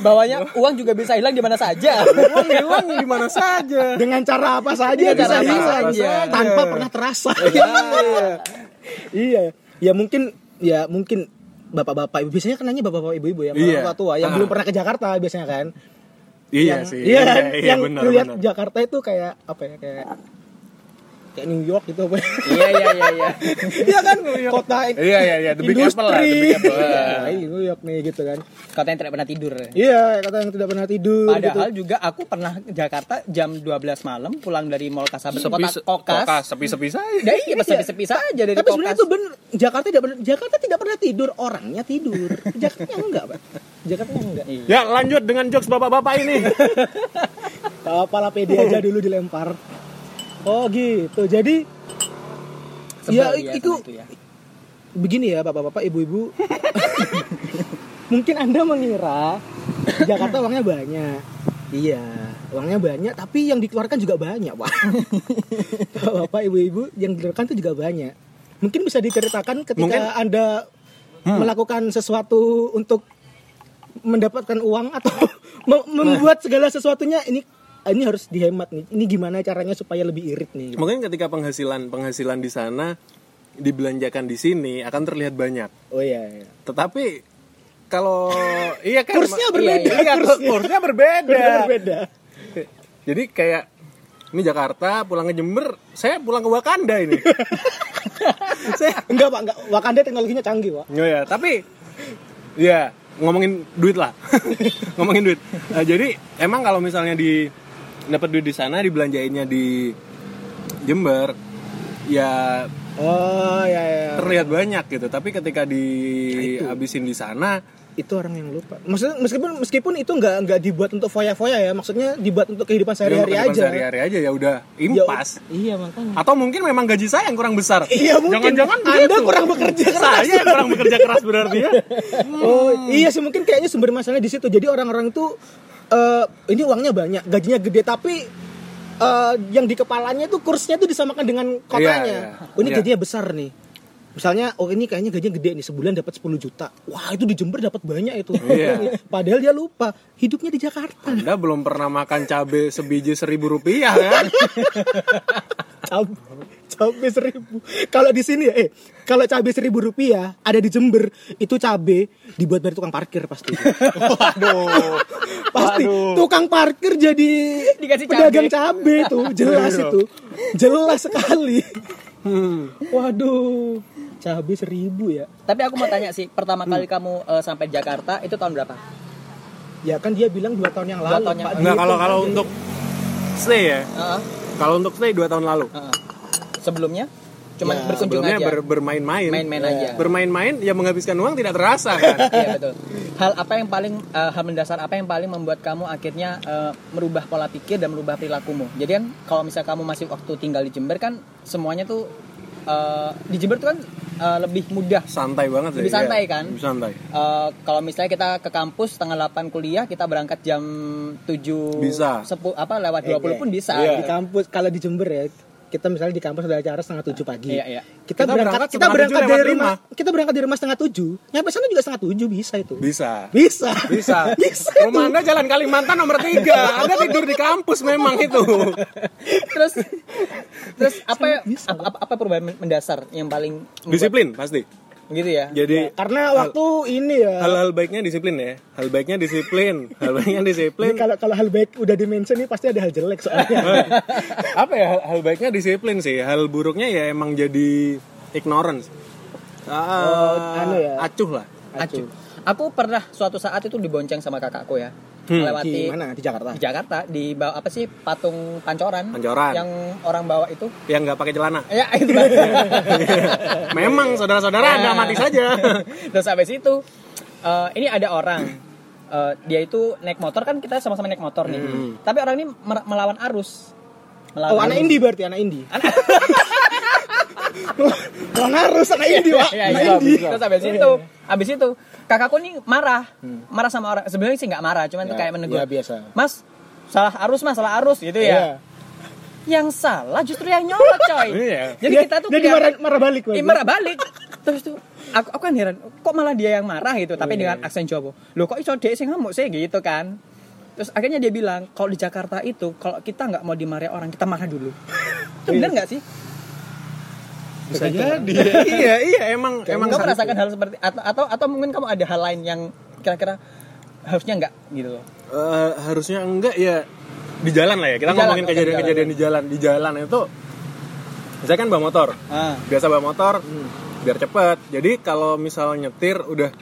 Speaker 1: Bawanya uang juga bisa hilang di mana saja.
Speaker 2: uang hilang di mana saja.
Speaker 3: Dengan cara apa saja
Speaker 1: Dengan
Speaker 2: Iya,
Speaker 3: bisa
Speaker 1: cara apa
Speaker 3: hilang
Speaker 1: saja.
Speaker 3: tanpa pernah terasa. iya. Ya mungkin ya mungkin bapak-bapak ibu biasanya kenanya bapak-bapak ibu-ibu ya
Speaker 2: Iya.
Speaker 3: orang tua yang
Speaker 2: Ah.
Speaker 3: belum pernah ke Jakarta biasanya kan yang,
Speaker 2: Iya sih.
Speaker 3: iya kan?
Speaker 2: iya,
Speaker 3: yang
Speaker 2: benar,
Speaker 3: lihat
Speaker 2: benar.
Speaker 3: Jakarta itu kayak apa ya kayak kayak New York gitu apa ya?
Speaker 1: iya iya iya iya
Speaker 3: iya kan kota
Speaker 2: Iya iya iya, the big
Speaker 3: industri
Speaker 2: apple lah, the big apple. eh.
Speaker 3: Iya, iya, New York nih gitu kan
Speaker 1: katanya tidak pernah tidur
Speaker 3: iya kata yang tidak pernah tidur gitu.
Speaker 1: Padahal juga aku pernah ke Jakarta jam 12 malam pulang dari Mall Kasablanca
Speaker 2: Sepi
Speaker 1: Kota Kokas.
Speaker 2: kokas, sepi-sepi saya.
Speaker 1: Ya iya sepi-sepi saja dari
Speaker 3: tapi sebenarnya
Speaker 1: Kokas.
Speaker 3: itu bener Jakarta tidak pernah Jakarta tidak pernah tidur orangnya tidur Jakarta enggak pak Jakarta enggak
Speaker 1: Iya.
Speaker 2: Ya, lanjut dengan jokes bapak-bapak ini.
Speaker 3: kepala pede aja dulu dilempar oh gitu jadi
Speaker 1: Sebel
Speaker 3: ya,
Speaker 1: dia
Speaker 3: itu
Speaker 1: sama itu ya.
Speaker 3: begini ya bapak-bapak ibu-ibu mungkin anda mengira Jakarta uangnya banyak iya uangnya banyak tapi yang dikeluarkan juga banyak pak bapak ibu-ibu yang dikeluarkan itu juga banyak mungkin bisa diceritakan ketika
Speaker 2: Mungkin-
Speaker 3: anda melakukan sesuatu untuk mendapatkan uang atau mem- membuat segala sesuatunya ini ini harus dihemat nih ini gimana caranya supaya lebih irit nih
Speaker 2: Mungkin ketika penghasilan penghasilan di sana dibelanjakan di sini akan terlihat banyak.
Speaker 3: oh iya, iya.
Speaker 2: Tetapi kalau iya kan
Speaker 3: Kursnya
Speaker 2: ma-
Speaker 3: berbeda,
Speaker 2: Iya, iya,
Speaker 3: kursnya.
Speaker 2: kursnya berbeda.
Speaker 3: beda
Speaker 2: Jadi kayak ini Jakarta pulang ke Jember, saya pulang ke Wakanda ini. saya
Speaker 3: enggak pak enggak Wakanda teknologinya canggih pak
Speaker 2: Oh ya, tapi ya ngomongin duit lah, ngomongin duit. Nah, jadi emang kalau misalnya di dapat duit di sana, dibelanjainnya di Jember, ya
Speaker 3: Oh ya ya.
Speaker 2: terlihat banyak gitu. Tapi ketika
Speaker 3: Nah,
Speaker 2: dihabisin di sana,
Speaker 3: Itu orang yang lupa. Maksudnya meskipun meskipun itu nggak nggak dibuat untuk foya-foya ya, maksudnya dibuat untuk kehidupan
Speaker 2: ya
Speaker 3: sehari-hari
Speaker 2: kehidupan
Speaker 3: aja.
Speaker 2: sehari-hari aja ya udah
Speaker 3: Ya,
Speaker 2: impas.
Speaker 1: Iya makanya.
Speaker 2: Atau mungkin memang gaji saya yang kurang besar.
Speaker 3: Iya, mungkin.
Speaker 2: Jangan-jangan
Speaker 3: Anda
Speaker 2: begitu.
Speaker 3: kurang bekerja keras.
Speaker 2: Saya yang kurang bekerja keras berarti ya.
Speaker 3: Oh
Speaker 2: Hmm.
Speaker 3: iya sih mungkin kayaknya sumber masalahnya di situ. Jadi orang-orang itu eh ini uangnya banyak, gajinya gede tapi eh yang di kepalanya itu kursnya itu disamakan dengan kotanya.
Speaker 2: Iya, iya.
Speaker 3: Oh, ini
Speaker 2: Iya.
Speaker 3: gajinya besar nih. Misalnya, oh ini kayaknya gajinya gede nih sebulan dapat 10 juta. Wah itu di Jember dapat banyak itu.
Speaker 2: Iya.
Speaker 3: Padahal dia lupa hidupnya di Jakarta.
Speaker 2: Anda belum pernah makan cabe sebiji seribu rupiah kan?
Speaker 3: cabe cabe seribu kalau di sini ya eh kalau cabe seribu rupiah ada di Jember itu cabe dibuat dari tukang parkir pasti
Speaker 2: Waduh.
Speaker 3: pasti
Speaker 2: Waduh.
Speaker 3: tukang parkir jadi
Speaker 1: Dikasih
Speaker 3: pedagang
Speaker 1: cabe.
Speaker 3: cabe itu jelas itu jelas sekali
Speaker 2: Hmm.
Speaker 3: waduh cabe seribu ya
Speaker 1: Tapi aku mau tanya sih, pertama kali
Speaker 3: Hmm.
Speaker 1: kamu eh, sampai Jakarta itu tahun berapa?
Speaker 3: ya kan dia bilang dua tahun yang
Speaker 1: Dua
Speaker 3: lalu
Speaker 1: tahun yang
Speaker 3: Pak.
Speaker 1: lalu.
Speaker 2: Enggak kalau
Speaker 3: Dihitung
Speaker 2: kalau
Speaker 3: aja.
Speaker 2: untuk stay ya.
Speaker 1: Heeh,
Speaker 2: Kalau untuk stay 2 tahun lalu.
Speaker 1: heeh. Sebelumnya cuman
Speaker 3: Ya,
Speaker 1: berkunjung
Speaker 2: Sebelumnya
Speaker 1: aja.
Speaker 2: ber- bermain-main.
Speaker 1: Main-main
Speaker 2: Ya.
Speaker 1: aja.
Speaker 2: Bermain-main ya menghabiskan uang tidak terasa kan.
Speaker 1: iya betul. Hal apa yang paling eh, hal mendasar apa yang paling membuat kamu akhirnya eh, merubah pola pikir dan merubah perilakumu? Jadi kan kalau misal kamu masih waktu tinggal di Jember kan semuanya tuh eh, di Jember tuh kan eh, lebih mudah.
Speaker 2: santai banget sih.
Speaker 1: Lebih
Speaker 2: ya.
Speaker 1: santai, kan?
Speaker 2: Lebih santai.
Speaker 1: Eh, kalau misalnya kita ke kampus setengah 8 kuliah, kita berangkat jam 7
Speaker 2: Bisa.
Speaker 1: 10 apa lewat
Speaker 3: Iya.
Speaker 1: 20 pun bisa. gitu.
Speaker 2: Iya.
Speaker 3: di kampus kalau di Jember ya kita misalnya di kampus ada acara setengah tujuh pagi
Speaker 1: Iya, iya.
Speaker 3: kita,
Speaker 2: Kita
Speaker 3: berangkat,
Speaker 2: berangkat
Speaker 3: kita
Speaker 2: setengah
Speaker 3: berangkat
Speaker 2: tujuh
Speaker 3: dari
Speaker 2: lewat
Speaker 3: rumah kita berangkat dari rumah setengah tujuh nyampe sana juga setengah tujuh bisa itu
Speaker 2: Bisa.
Speaker 3: bisa
Speaker 2: Bisa.
Speaker 3: bisa itu.
Speaker 2: Rumah Anda Jalan Kalimantan nomor 3. Anda tidur di kampus memang itu.
Speaker 1: terus terus apa ya- apa, apa- apa perubahan mendasar yang paling membuat-
Speaker 2: Disiplin pasti.
Speaker 1: gitu ya?
Speaker 2: Jadi
Speaker 3: karena waktu ini ya
Speaker 2: hal-hal baiknya disiplin ya. Hal baiknya disiplin. Hal baiknya
Speaker 3: ini
Speaker 2: disiplin.
Speaker 3: kalau kalau hal baik udah dimention ini pasti ada hal jelek soalnya
Speaker 2: Eh, apa ya hal, hal baiknya disiplin sih hal buruknya ya emang jadi ignorance
Speaker 3: Oh,
Speaker 2: Ah,
Speaker 3: anu ya.
Speaker 2: acuh lah
Speaker 1: Acuh. Aku pernah suatu saat itu dibonceng sama kakakku ya.
Speaker 3: di
Speaker 2: Hmm.
Speaker 1: melewati
Speaker 3: mana di Jakarta
Speaker 1: di Jakarta di bawah apa sih patung Pancoran.
Speaker 2: Pancoran.
Speaker 1: Yang orang bawa itu.
Speaker 2: yang nggak pakai celana
Speaker 1: Eh, Ya, itu banget. Iya.
Speaker 2: memang saudara-saudara anda mati saja
Speaker 1: Terus sampai situ eh, ini ada orang eh, dia itu naik motor kan kita sama-sama naik motor nih. Tapi orang ini mer- melawan arus.
Speaker 3: Hmm. oh anak
Speaker 1: arus.
Speaker 3: indie berarti anak indie anak harus anak indie pak
Speaker 1: Iya,
Speaker 3: anak
Speaker 1: iya.
Speaker 3: indie
Speaker 1: Terus habis itu,
Speaker 3: iya.
Speaker 1: habis itu kakakku nih marah, marah sama orang. Sebenarnya sih nggak marah, cuman
Speaker 3: Hmm. Ya,
Speaker 1: kayak menegur.
Speaker 3: ya, biasa.
Speaker 1: Mas, salah arus mas, salah arus gitu ya.
Speaker 3: Iya.
Speaker 1: Yang salah justru yang nyolot coy.
Speaker 2: Iya.
Speaker 1: Jadi kita tuh
Speaker 3: jadi marah
Speaker 1: kelihatan-
Speaker 3: marah balik Pak.
Speaker 1: Ih, marah balik. Terus tuh aku, aku kan heran, kok malah dia yang marah gitu,
Speaker 2: Iya,
Speaker 1: tapi dengan aksen Jawa. Loh kok iso dhek sing ngamuk sih gitu kan. Terus akhirnya dia bilang, kalau di Jakarta itu kalau kita nggak mau dimarahi orang, kita marah dulu. Itu benar nggak sih?
Speaker 2: bisa jadi ya. iya iya emang emang
Speaker 1: kamu
Speaker 2: ya? saat-
Speaker 1: merasakan hal seperti atau, atau atau mungkin kamu ada hal lain yang kira-kira harusnya enggak gitu loh.
Speaker 2: Eh, harusnya enggak ya di jalan lah ya
Speaker 1: Di
Speaker 2: kita
Speaker 1: jalan, oke,
Speaker 2: ngomongin
Speaker 1: di
Speaker 2: kejadian-kejadian di jalan di jalan itu saya kan bawa motor
Speaker 1: Ah,
Speaker 2: biasa bawa motor biar cepet jadi kalau misal nyetir udah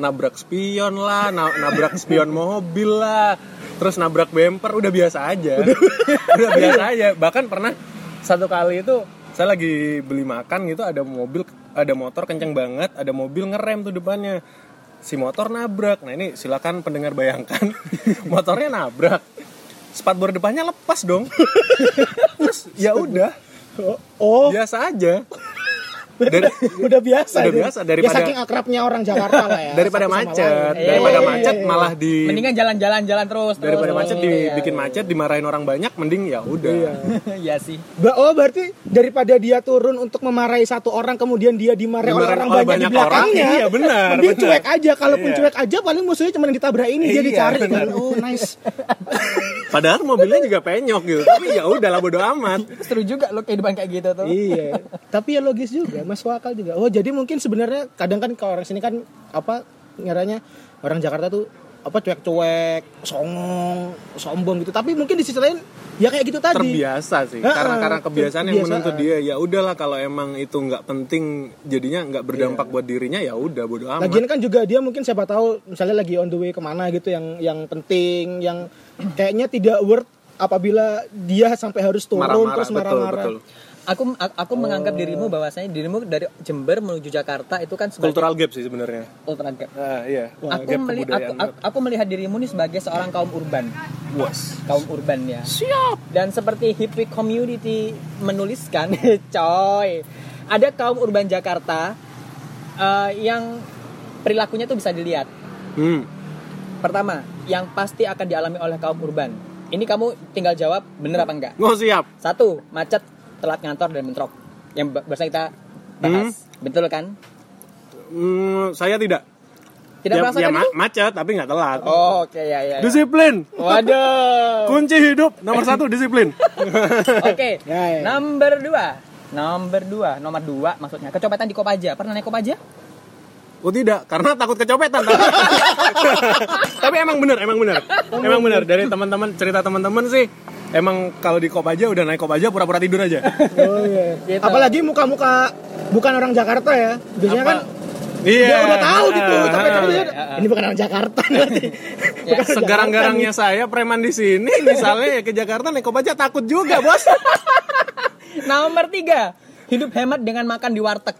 Speaker 2: nabrak spion lah na- nabrak spion mobil lah terus nabrak bumper udah biasa aja udah biasa aja bahkan pernah satu kali itu saya lagi beli makan gitu ada mobil ada motor kenceng banget ada mobil ngerem tuh depannya si motor nabrak nah ini silakan pendengar bayangkan motornya nabrak spatbor depannya lepas dong terus ya udah
Speaker 3: Oh, oh,
Speaker 2: biasa aja dari
Speaker 3: udah biasa.
Speaker 2: Udah
Speaker 3: dia.
Speaker 2: biasa,
Speaker 3: Ya,
Speaker 2: daripada-
Speaker 3: saking akrabnya orang Jakarta lah ya.
Speaker 2: daripada
Speaker 3: satu sama
Speaker 2: macet
Speaker 3: lain.
Speaker 2: daripada
Speaker 3: Iya, iya,
Speaker 2: macet
Speaker 3: iya.
Speaker 2: malah di
Speaker 1: mendingan jalan-jalan jalan terus. terus,
Speaker 2: daripada
Speaker 1: terus,
Speaker 2: macet
Speaker 1: terus.
Speaker 2: dibikin macet dimarahin orang banyak mending ya
Speaker 3: Iya.
Speaker 2: udah
Speaker 1: Iya sih.
Speaker 3: Ba- Oh berarti daripada dia turun untuk memarahi satu orang kemudian dia dimarahi oleh
Speaker 2: Dimarahin
Speaker 3: orang
Speaker 2: oleh
Speaker 3: banyak, di
Speaker 2: banyak
Speaker 3: belakangnya.
Speaker 2: orang. Iya, benar,
Speaker 3: Dia
Speaker 2: benar.
Speaker 3: cuek aja kalaupun
Speaker 2: Iya.
Speaker 3: cuek aja paling musuhnya cuma yang ditabrak ini dia
Speaker 2: Iya,
Speaker 3: dicari kan.
Speaker 2: benar.
Speaker 3: Oh nice.
Speaker 2: padahal mobilnya juga penyok gitu tapi ya udah lah bodo amat
Speaker 1: Seru juga loh kehidupan kayak gitu tuh.
Speaker 3: iya. Tapi ya logis juga, masuk akal juga. Oh jadi mungkin sebenarnya kadang kan kalau orang sini kan apa ngaranya orang Jakarta tuh apa cuek-cuek, songong, sombong gitu. Tapi mungkin di sisi lain ya kayak gitu tadi.
Speaker 2: terbiasa sih
Speaker 3: Heeh,
Speaker 2: karena karena kebiasaan yang
Speaker 3: kebiasaan.
Speaker 2: menuntut dia ya udahlah kalau emang itu nggak penting jadinya nggak berdampak buat dirinya ya udah bodo amat
Speaker 3: Iya. Lagian kan juga dia mungkin siapa tahu misalnya lagi on the way kemana gitu yang yang penting yang kayaknya tidak worth apabila dia sampai harus turun
Speaker 2: marah-marah
Speaker 3: terus
Speaker 2: betul
Speaker 3: marah-marah.
Speaker 2: betul
Speaker 1: Aku aku aku menganggap
Speaker 2: Oh.
Speaker 1: dirimu bahwasanya dirimu dari Jember menuju Jakarta itu kan sebagai
Speaker 2: cultural gap sih sebenarnya
Speaker 1: ultra gap.
Speaker 2: Ah, iya
Speaker 1: Aku,
Speaker 2: gap
Speaker 1: meli- aku,
Speaker 2: kebudayaan
Speaker 1: aku- aku melihat dirimu nih sebagai seorang kaum urban,
Speaker 2: was
Speaker 1: kaum urban ya.
Speaker 2: siap
Speaker 1: Dan seperti hippie community menuliskan, coy, ada kaum urban Jakarta eh, yang perilakunya tuh bisa dilihat.
Speaker 2: hmm
Speaker 1: Pertama, yang pasti akan dialami oleh kaum urban. Ini kamu tinggal jawab bener apa enggak.
Speaker 2: oh siap
Speaker 1: Satu, macet, telat ngantor dan bentrok. Yang ba- barusan kita bahas, betul kan?
Speaker 2: Hmm, saya tidak
Speaker 1: Tidak
Speaker 2: ya,
Speaker 1: merasakan
Speaker 2: ya ma-
Speaker 1: itu?
Speaker 2: macet tapi nggak telat.
Speaker 1: Oh, Oke ya ya.
Speaker 3: iya.
Speaker 1: ya.
Speaker 2: Disiplin.
Speaker 1: Waduh.
Speaker 2: Kunci hidup nomor satu disiplin.
Speaker 1: Oke.
Speaker 3: Ya, ya.
Speaker 1: Number 2. Number 2, nomor 2 maksudnya. Kecopetan di Kopaja. Pernah naik Kopaja? Ya.
Speaker 2: Oh tidak, karena takut kecopetan. tapi emang bener, emang bener, emang bener. Dari teman-teman cerita teman-teman sih, emang kalau di kop aja udah naik kop aja pura-pura tidur aja.
Speaker 3: Oh, iya.
Speaker 1: Gitu.
Speaker 3: Apalagi muka-muka bukan orang Jakarta ya. Biasanya kan
Speaker 2: Iya.
Speaker 3: dia udah tahu gitu,
Speaker 2: Ah,
Speaker 3: tapi tapi
Speaker 2: ah.
Speaker 3: dia- Iya. ini bukan orang Jakarta nanti. Bukan orang
Speaker 2: Segarang-garangnya saya preman di sini, misalnya ya ke Jakarta naik kop aja takut juga bos.
Speaker 1: Nomor 3. Hidup hemat dengan makan di warteg.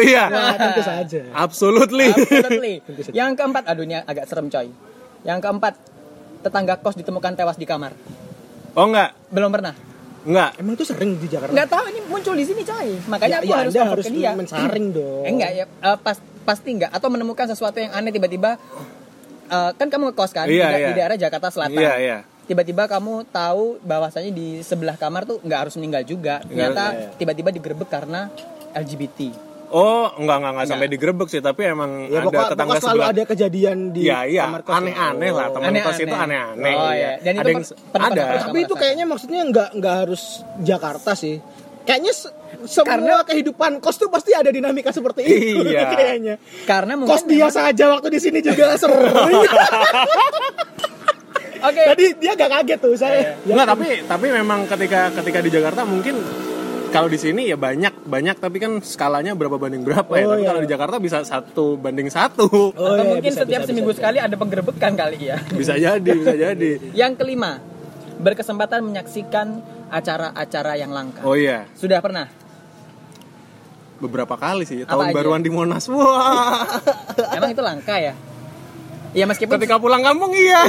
Speaker 3: Jakarta.
Speaker 2: iya,
Speaker 3: Nah, tentu saja.
Speaker 2: absolutely.
Speaker 3: Iya.
Speaker 1: Absolutely. Yang keempat, aduh ini agak serem coy. Yang keempat, tetangga kos ditemukan tewas di kamar.
Speaker 2: Oh enggak,
Speaker 1: Belum pernah.
Speaker 2: enggak.
Speaker 3: Emang itu sering di Jakarta.
Speaker 1: Nggak tahu ini muncul di sini coy. Makanya
Speaker 3: Ya,
Speaker 1: aku
Speaker 3: ya,
Speaker 1: harus
Speaker 3: Anda
Speaker 1: lapor
Speaker 3: harus
Speaker 1: ke dia.
Speaker 3: mensaring dong.
Speaker 1: Eh, enggak ya, eh, pas- pasti enggak atau menemukan sesuatu yang aneh tiba-tiba eh, kan kamu ngekos kan
Speaker 2: Iya,
Speaker 1: di, da-
Speaker 2: iya.
Speaker 1: di daerah Jakarta Selatan.
Speaker 2: Iya, iya.
Speaker 1: Tiba-tiba kamu tahu bahwasanya di sebelah kamar tuh nggak harus meninggal juga. Ternyata
Speaker 2: iya, iya.
Speaker 1: tiba-tiba digerebek karena LGBT.
Speaker 2: Oh, enggak enggak enggak sampai digerebek sih, tapi emang
Speaker 3: Ya
Speaker 2: ada
Speaker 3: pokoknya,
Speaker 2: tetangga
Speaker 3: pokoknya selalu
Speaker 2: sebelah.
Speaker 3: ada kejadian di
Speaker 2: Iya, iya.
Speaker 3: kamar kos.
Speaker 2: Aneh-aneh lah teman
Speaker 1: Aneh-aneh.
Speaker 2: kos itu aneh-aneh.
Speaker 1: Oh, iya. Dan itu
Speaker 2: ada yang
Speaker 1: per- pernah-
Speaker 2: ada.
Speaker 1: pernah-
Speaker 3: Tapi itu kayaknya maksudnya nggak nggak harus Jakarta sih. Kayaknya se- semua
Speaker 1: Karena-
Speaker 3: kehidupan kos tuh pasti ada dinamika seperti itu
Speaker 2: Iya.
Speaker 3: kayaknya.
Speaker 1: Karena mungkin
Speaker 3: Kos dia saja waktu di sini juga seru.
Speaker 1: memang- Oke.
Speaker 3: Jadi dia gak kaget tuh
Speaker 1: Iya,
Speaker 3: saya. Ya,
Speaker 2: Enggak, tapi tapi memang ketika ketika di Jakarta mungkin kalau di sini ya banyak banyak tapi kan skalanya berapa banding berapa ya.
Speaker 3: Oh,
Speaker 2: Tapi
Speaker 3: iya.
Speaker 2: kalau di Jakarta bisa satu banding satu.
Speaker 3: Oh,
Speaker 1: atau
Speaker 3: iya,
Speaker 1: mungkin
Speaker 3: bisa,
Speaker 1: setiap
Speaker 3: bisa,
Speaker 1: seminggu
Speaker 3: bisa.
Speaker 1: sekali ada penggerebekan kali ya.
Speaker 2: Bisa jadi, bisa jadi.
Speaker 1: Yang kelima, berkesempatan menyaksikan acara-acara yang langka.
Speaker 2: Oh iya,
Speaker 1: Sudah pernah?
Speaker 2: beberapa kali sih
Speaker 1: Apa
Speaker 2: tahun
Speaker 1: aja?
Speaker 2: baruan di Monas. Wah.
Speaker 1: Emang itu langka ya? Ya meskipun
Speaker 2: ketika pulang kampung iya.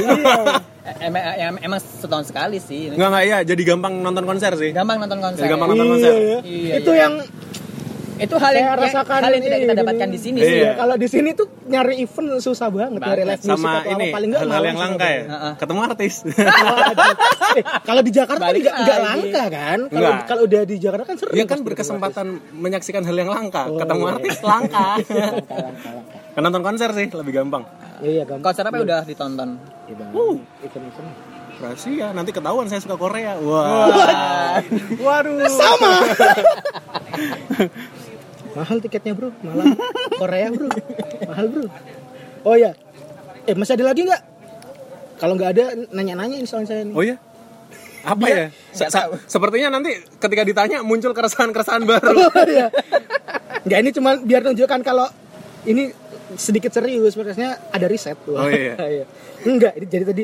Speaker 1: Eh, em- em- em- emang setahun sekali sih.
Speaker 2: Enggak enggak iya, jadi gampang nonton konser sih.
Speaker 1: Gampang nonton konser.
Speaker 2: Jadi gampang
Speaker 1: ya.
Speaker 2: nonton
Speaker 3: Iya,
Speaker 2: konser.
Speaker 3: iya.
Speaker 1: Iya,
Speaker 3: itu
Speaker 1: iya.
Speaker 3: yang
Speaker 1: Itu hal yang
Speaker 3: saya rasakan
Speaker 1: hal yang tidak
Speaker 3: ini,
Speaker 1: kita
Speaker 3: ini.
Speaker 1: dapatkan di sini
Speaker 2: Iya.
Speaker 1: sih.
Speaker 3: Iya, kalau di sini tuh nyari event susah banget, nyari live music
Speaker 2: sama
Speaker 3: atau apa.
Speaker 2: ini
Speaker 3: paling nggak
Speaker 2: hal-hal
Speaker 3: malam
Speaker 2: yang langka ya.
Speaker 3: Surabaya.
Speaker 1: Heeh.
Speaker 2: Ketemu artis.
Speaker 3: Eh, kalau di Jakarta kan
Speaker 1: Balik
Speaker 3: nggak nggak
Speaker 1: lagi.
Speaker 3: langka kan? Kalau
Speaker 2: Nggak.
Speaker 3: kalau udah di Jakarta kan sering.
Speaker 2: Dia kan
Speaker 3: pasti
Speaker 2: berkesempatan menyaksikan hal yang langka,
Speaker 3: Oh,
Speaker 2: ketemu
Speaker 3: iya.
Speaker 2: artis langka.
Speaker 3: Langka, langka, langka.
Speaker 2: Kan nonton konser sih lebih gampang.
Speaker 3: Iya, iya, gampang.
Speaker 1: Konser apa yang udah ditonton?
Speaker 3: Iya, Bang.
Speaker 2: Uh.
Speaker 3: Event-event. Eh,
Speaker 2: Rahasia, nanti ketahuan saya suka Korea. Wah. Waduh.
Speaker 3: Sama. mahal tiketnya bro malah Korea bro mahal bro oh ya eh masih ada lagi nggak kalau nggak ada nanya-nanyain soal saya nih
Speaker 2: Oh iya? Apa ya? Se- se- Sepertinya nanti ketika ditanya muncul keresahan-keresahan baru.
Speaker 3: Oh, iya. nggak ini cuma biar tunjukkan kalau ini sedikit serius maksudnya ada riset Wah.
Speaker 2: Oh, iya.
Speaker 3: enggak ini jadi tadi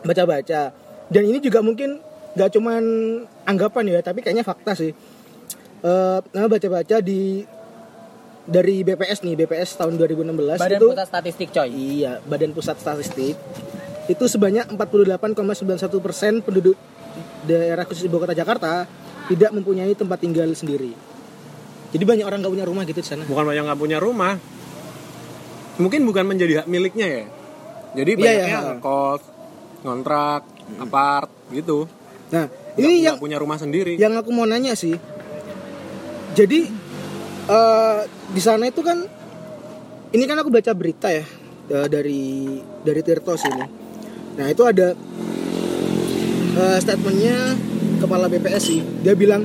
Speaker 3: baca-baca dan ini juga mungkin nggak cuman anggapan ya tapi kayaknya fakta sih Eh, nah baca-baca di dari BPS nih BPS tahun 2016
Speaker 1: Badan
Speaker 3: itu
Speaker 1: Pusat Statistik coy.
Speaker 3: Iya, Badan Pusat Statistik itu sebanyak 48,91 persen penduduk daerah khusus ibu kota Jakarta tidak mempunyai tempat tinggal sendiri. Jadi banyak orang nggak punya rumah gitu di sana.
Speaker 2: Bukan banyak nggak punya rumah. Mungkin bukan menjadi hak miliknya ya. Jadi
Speaker 3: Iya,
Speaker 2: banyaknya
Speaker 3: iya.
Speaker 2: ngekos, ngontrak, apart gitu.
Speaker 3: Nah,
Speaker 2: Nggak-
Speaker 3: ini
Speaker 2: nggak
Speaker 3: yang
Speaker 2: punya rumah sendiri.
Speaker 3: yang aku mau nanya sih. Jadi eh, di sana itu kan ini kan aku baca berita ya eh, dari dari Tirto sini. Nah itu ada eh, statementnya kepala BPS sih. Dia bilang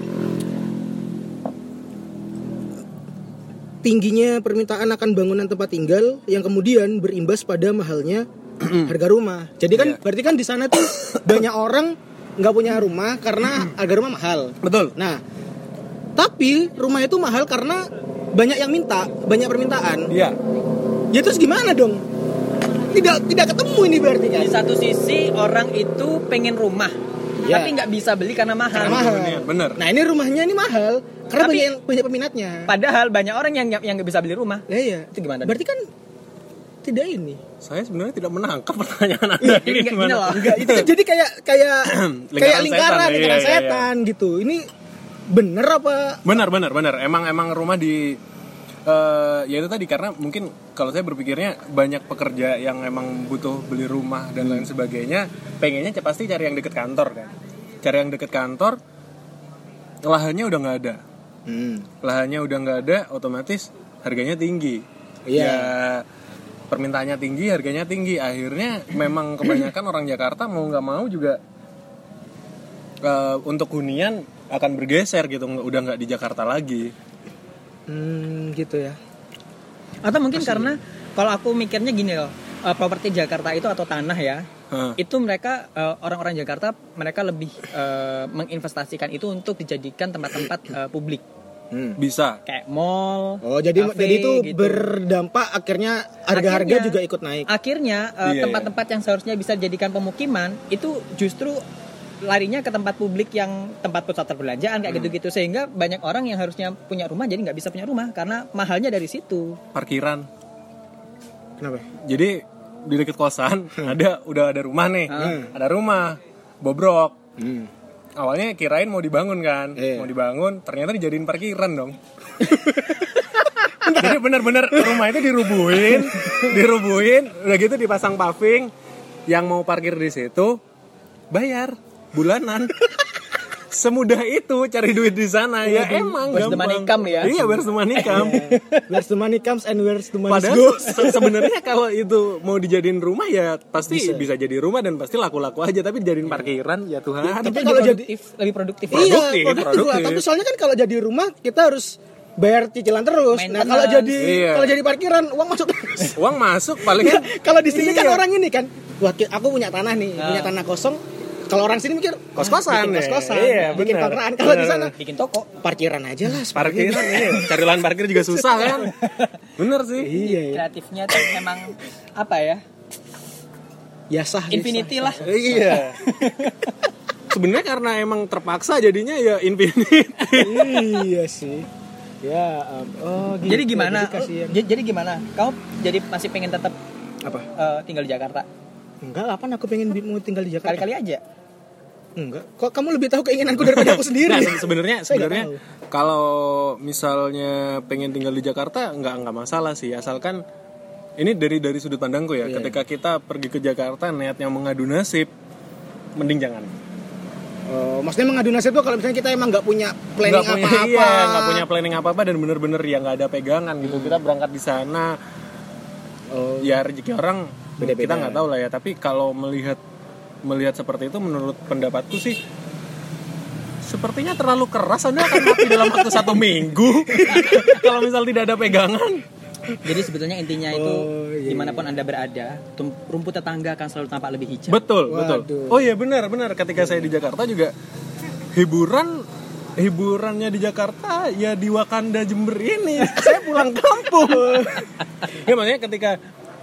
Speaker 3: tingginya permintaan akan bangunan tempat tinggal yang kemudian berimbas pada mahalnya harga rumah. Jadi kan
Speaker 2: Iya.
Speaker 3: berarti kan di sana tuh banyak orang nggak punya rumah karena harga rumah mahal.
Speaker 2: Betul.
Speaker 3: Nah, tapi rumah itu mahal karena banyak yang minta, banyak permintaan.
Speaker 2: Iya.
Speaker 3: Ya terus gimana dong? Tidak tidak ketemu ini berarti kan?
Speaker 1: Di satu sisi orang itu pengen rumah,
Speaker 3: Iya.
Speaker 1: tapi nggak bisa beli karena mahal.
Speaker 3: Karena mahal.
Speaker 2: Iya, Bener, bener.
Speaker 3: Nah ini rumahnya ini mahal karena
Speaker 1: Tapi-
Speaker 3: banyak yang banyak peminatnya.
Speaker 1: Padahal banyak orang yang yang nggak bisa beli rumah.
Speaker 3: Ya, ya.
Speaker 1: Itu gimana?
Speaker 3: Berarti kan tidak ini.
Speaker 2: Saya sebenarnya tidak menangkap pertanyaan Anda
Speaker 1: Nggak-
Speaker 2: ini gimana.
Speaker 1: Iya, gini loh.
Speaker 3: Enggak, itu kan jadi kayak kayak kayak
Speaker 2: Lingkaran
Speaker 3: lingkaran,
Speaker 2: setan,
Speaker 3: lingkaran
Speaker 2: iya, iya,
Speaker 3: setan gitu. Ini bener apa?
Speaker 2: Benar, benar, benar. Emang emang rumah di eh ya itu tadi karena mungkin kalau saya berpikirnya banyak pekerja yang emang butuh beli rumah dan lain sebagainya, pengennya ya pasti cari yang deket kantor kan. Cari yang deket kantor, lahannya udah nggak ada. Lahannya udah nggak ada, otomatis harganya tinggi.
Speaker 3: Iya.
Speaker 2: Ya, permintaannya tinggi, harganya tinggi. Akhirnya memang kebanyakan orang Jakarta mau nggak mau juga eh, untuk hunian akan bergeser gitu, nggak- udah nggak di Jakarta lagi.
Speaker 3: Hmm, gitu ya.
Speaker 1: Atau mungkin karena kalau aku mikirnya gini loh, eh, properti Jakarta itu atau tanah ya,
Speaker 2: Hah.
Speaker 1: itu mereka eh, orang-orang Jakarta mereka lebih eh, menginvestasikan itu untuk dijadikan tempat-tempat eh, publik
Speaker 2: Bisa.
Speaker 1: kayak mall.
Speaker 3: Oh, jadi
Speaker 1: kafe,
Speaker 3: jadi itu
Speaker 1: gitu.
Speaker 3: berdampak akhirnya harga-harga
Speaker 1: Akhirnya-
Speaker 3: juga ikut naik.
Speaker 1: akhirnya eh,
Speaker 2: Iya,
Speaker 1: tempat-tempat yang seharusnya bisa dijadikan pemukiman itu justru larinya ke tempat publik yang tempat pusat perbelanjaan
Speaker 3: Hmm.
Speaker 1: kayak gitu-gitu sehingga banyak orang yang harusnya punya rumah jadi nggak bisa punya rumah karena mahalnya dari situ
Speaker 2: Parkiran.
Speaker 3: Kenapa?
Speaker 2: Jadi di deket kosan ada udah ada rumah nih.
Speaker 1: Hmm.
Speaker 2: Ada rumah bobrok.
Speaker 3: Hmm.
Speaker 2: Awalnya kirain mau dibangun kan,
Speaker 3: Iya.
Speaker 2: mau dibangun, ternyata dijadiin parkiran dong. Jadi benar-benar rumah itu dirubuhin, dirubuhin, udah gitu dipasang paving, yang mau parkir di situ bayar bulanan. Semudah itu cari duit di sana ya emang
Speaker 1: where's the money
Speaker 2: gampang.
Speaker 1: come ya?
Speaker 2: Iya, where's the money come?
Speaker 3: Where's the money comes and where's the money
Speaker 2: Padahal
Speaker 3: goes.
Speaker 2: se- sebenarnya kalau itu mau dijadiin rumah ya pasti bisa. jadi rumah dan pasti laku-laku aja tapi dijadiin parkiran ya Tuhan.
Speaker 1: Itu
Speaker 3: tapi kalau
Speaker 1: lebih
Speaker 3: jadi-
Speaker 1: produktif lebih produktif
Speaker 3: Iya,
Speaker 2: Produktif,
Speaker 3: produktif lah.
Speaker 2: produktif.
Speaker 3: Tapi soalnya kan kalau jadi rumah kita harus bayar cicilan terus. Nah,
Speaker 1: Maintenance.
Speaker 3: kalau jadi
Speaker 2: Iya.
Speaker 3: kalau jadi parkiran uang masuk terus.
Speaker 2: Uang masuk paling
Speaker 3: Kan, kalau di sini kan
Speaker 2: Iya. Ah.
Speaker 3: orang ini kan, wah ki- aku punya tanah nih,
Speaker 1: Nah.
Speaker 3: punya tanah kosong. Kalau orang sini mikir bikin
Speaker 2: Kos-kosan ya.
Speaker 3: kos-kosan,
Speaker 2: Iya,
Speaker 3: bikin
Speaker 2: benar.
Speaker 3: kontrakan. Kalau di
Speaker 2: Benar.
Speaker 3: sana
Speaker 1: bikin toko
Speaker 3: parkiran aja lah. seperti
Speaker 2: parkiran iya. cari lahan parkir juga susah kan. Bener sih.
Speaker 3: itu. Iya, iya.
Speaker 1: kreatifnya tuh memang apa ya
Speaker 3: Ya sah. deh,
Speaker 1: infinity
Speaker 3: sah.
Speaker 1: lah
Speaker 2: Iya. Sebenarnya karena emang terpaksa jadinya ya infinite.
Speaker 3: iya sih. Ya, am- oh gitu.
Speaker 1: jadi gimana
Speaker 3: kasihan.
Speaker 1: J- jadi gimana kamu jadi masih pengen tetap
Speaker 3: Apa?
Speaker 1: eh, tinggal di Jakarta
Speaker 3: Enggak, kapan aku pengen bi- mau tinggal di Jakarta?
Speaker 1: kali-kali aja
Speaker 3: Enggak. Kok kamu lebih tahu keinginanku daripada aku sendiri?
Speaker 2: Nah, se- sebenarnya
Speaker 3: Saya nggak
Speaker 2: sebenarnya kalau misalnya pengen tinggal di Jakarta nggak nggak masalah sih asalkan ini dari dari sudut pandangku ya. Ketika kita pergi ke Jakarta niatnya mengadu nasib, mending jangan.
Speaker 3: Oh, maksudnya mengadu nasib tuh kalau misalnya kita emang nggak punya planning
Speaker 2: Nggak punya
Speaker 3: apa-apa.
Speaker 2: iya, nggak punya planning apa apa dan bener-bener ya nggak ada pegangan gitu. Kita berangkat di sana
Speaker 3: Oh,
Speaker 2: ya rezeki orang
Speaker 3: Beda-beda.
Speaker 2: kita nggak tahu lah ya. Tapi kalau melihat melihat seperti itu menurut pendapatku sih Sepertinya terlalu keras Anda akan mati dalam waktu satu minggu kalau misal tidak ada pegangan.
Speaker 1: Jadi sebetulnya intinya itu
Speaker 3: Oh, iya,
Speaker 1: dimanapun anda berada, tum- rumput tetangga akan selalu tampak lebih hijau.
Speaker 2: Betul, betul.
Speaker 3: Waduh.
Speaker 2: Oh iya benar, benar. Ketika saya di Jakarta juga hiburan hiburannya di Jakarta ya di Wakanda Jember ini. Saya pulang kampung. ya makanya ketika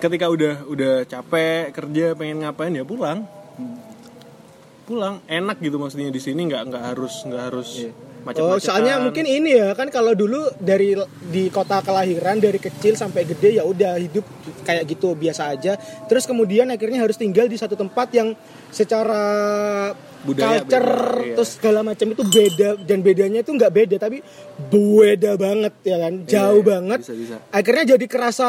Speaker 2: ketika udah udah capek kerja pengen ngapain ya pulang. Pulang enak gitu maksudnya di sini nggak nggak harus nggak harus
Speaker 3: Oh,
Speaker 2: macam-macam.
Speaker 3: soalnya mungkin ini ya kan kalau dulu dari di kota kelahiran dari kecil sampai gede ya udah hidup kayak gitu biasa aja. Terus kemudian akhirnya harus tinggal di satu tempat yang secara
Speaker 2: Budaya
Speaker 3: culture
Speaker 2: beda, iya.
Speaker 3: terus segala macam itu beda dan bedanya itu nggak beda tapi beda banget ya kan jauh
Speaker 2: iya,
Speaker 3: banget.
Speaker 2: bisa, bisa.
Speaker 3: Akhirnya jadi kerasa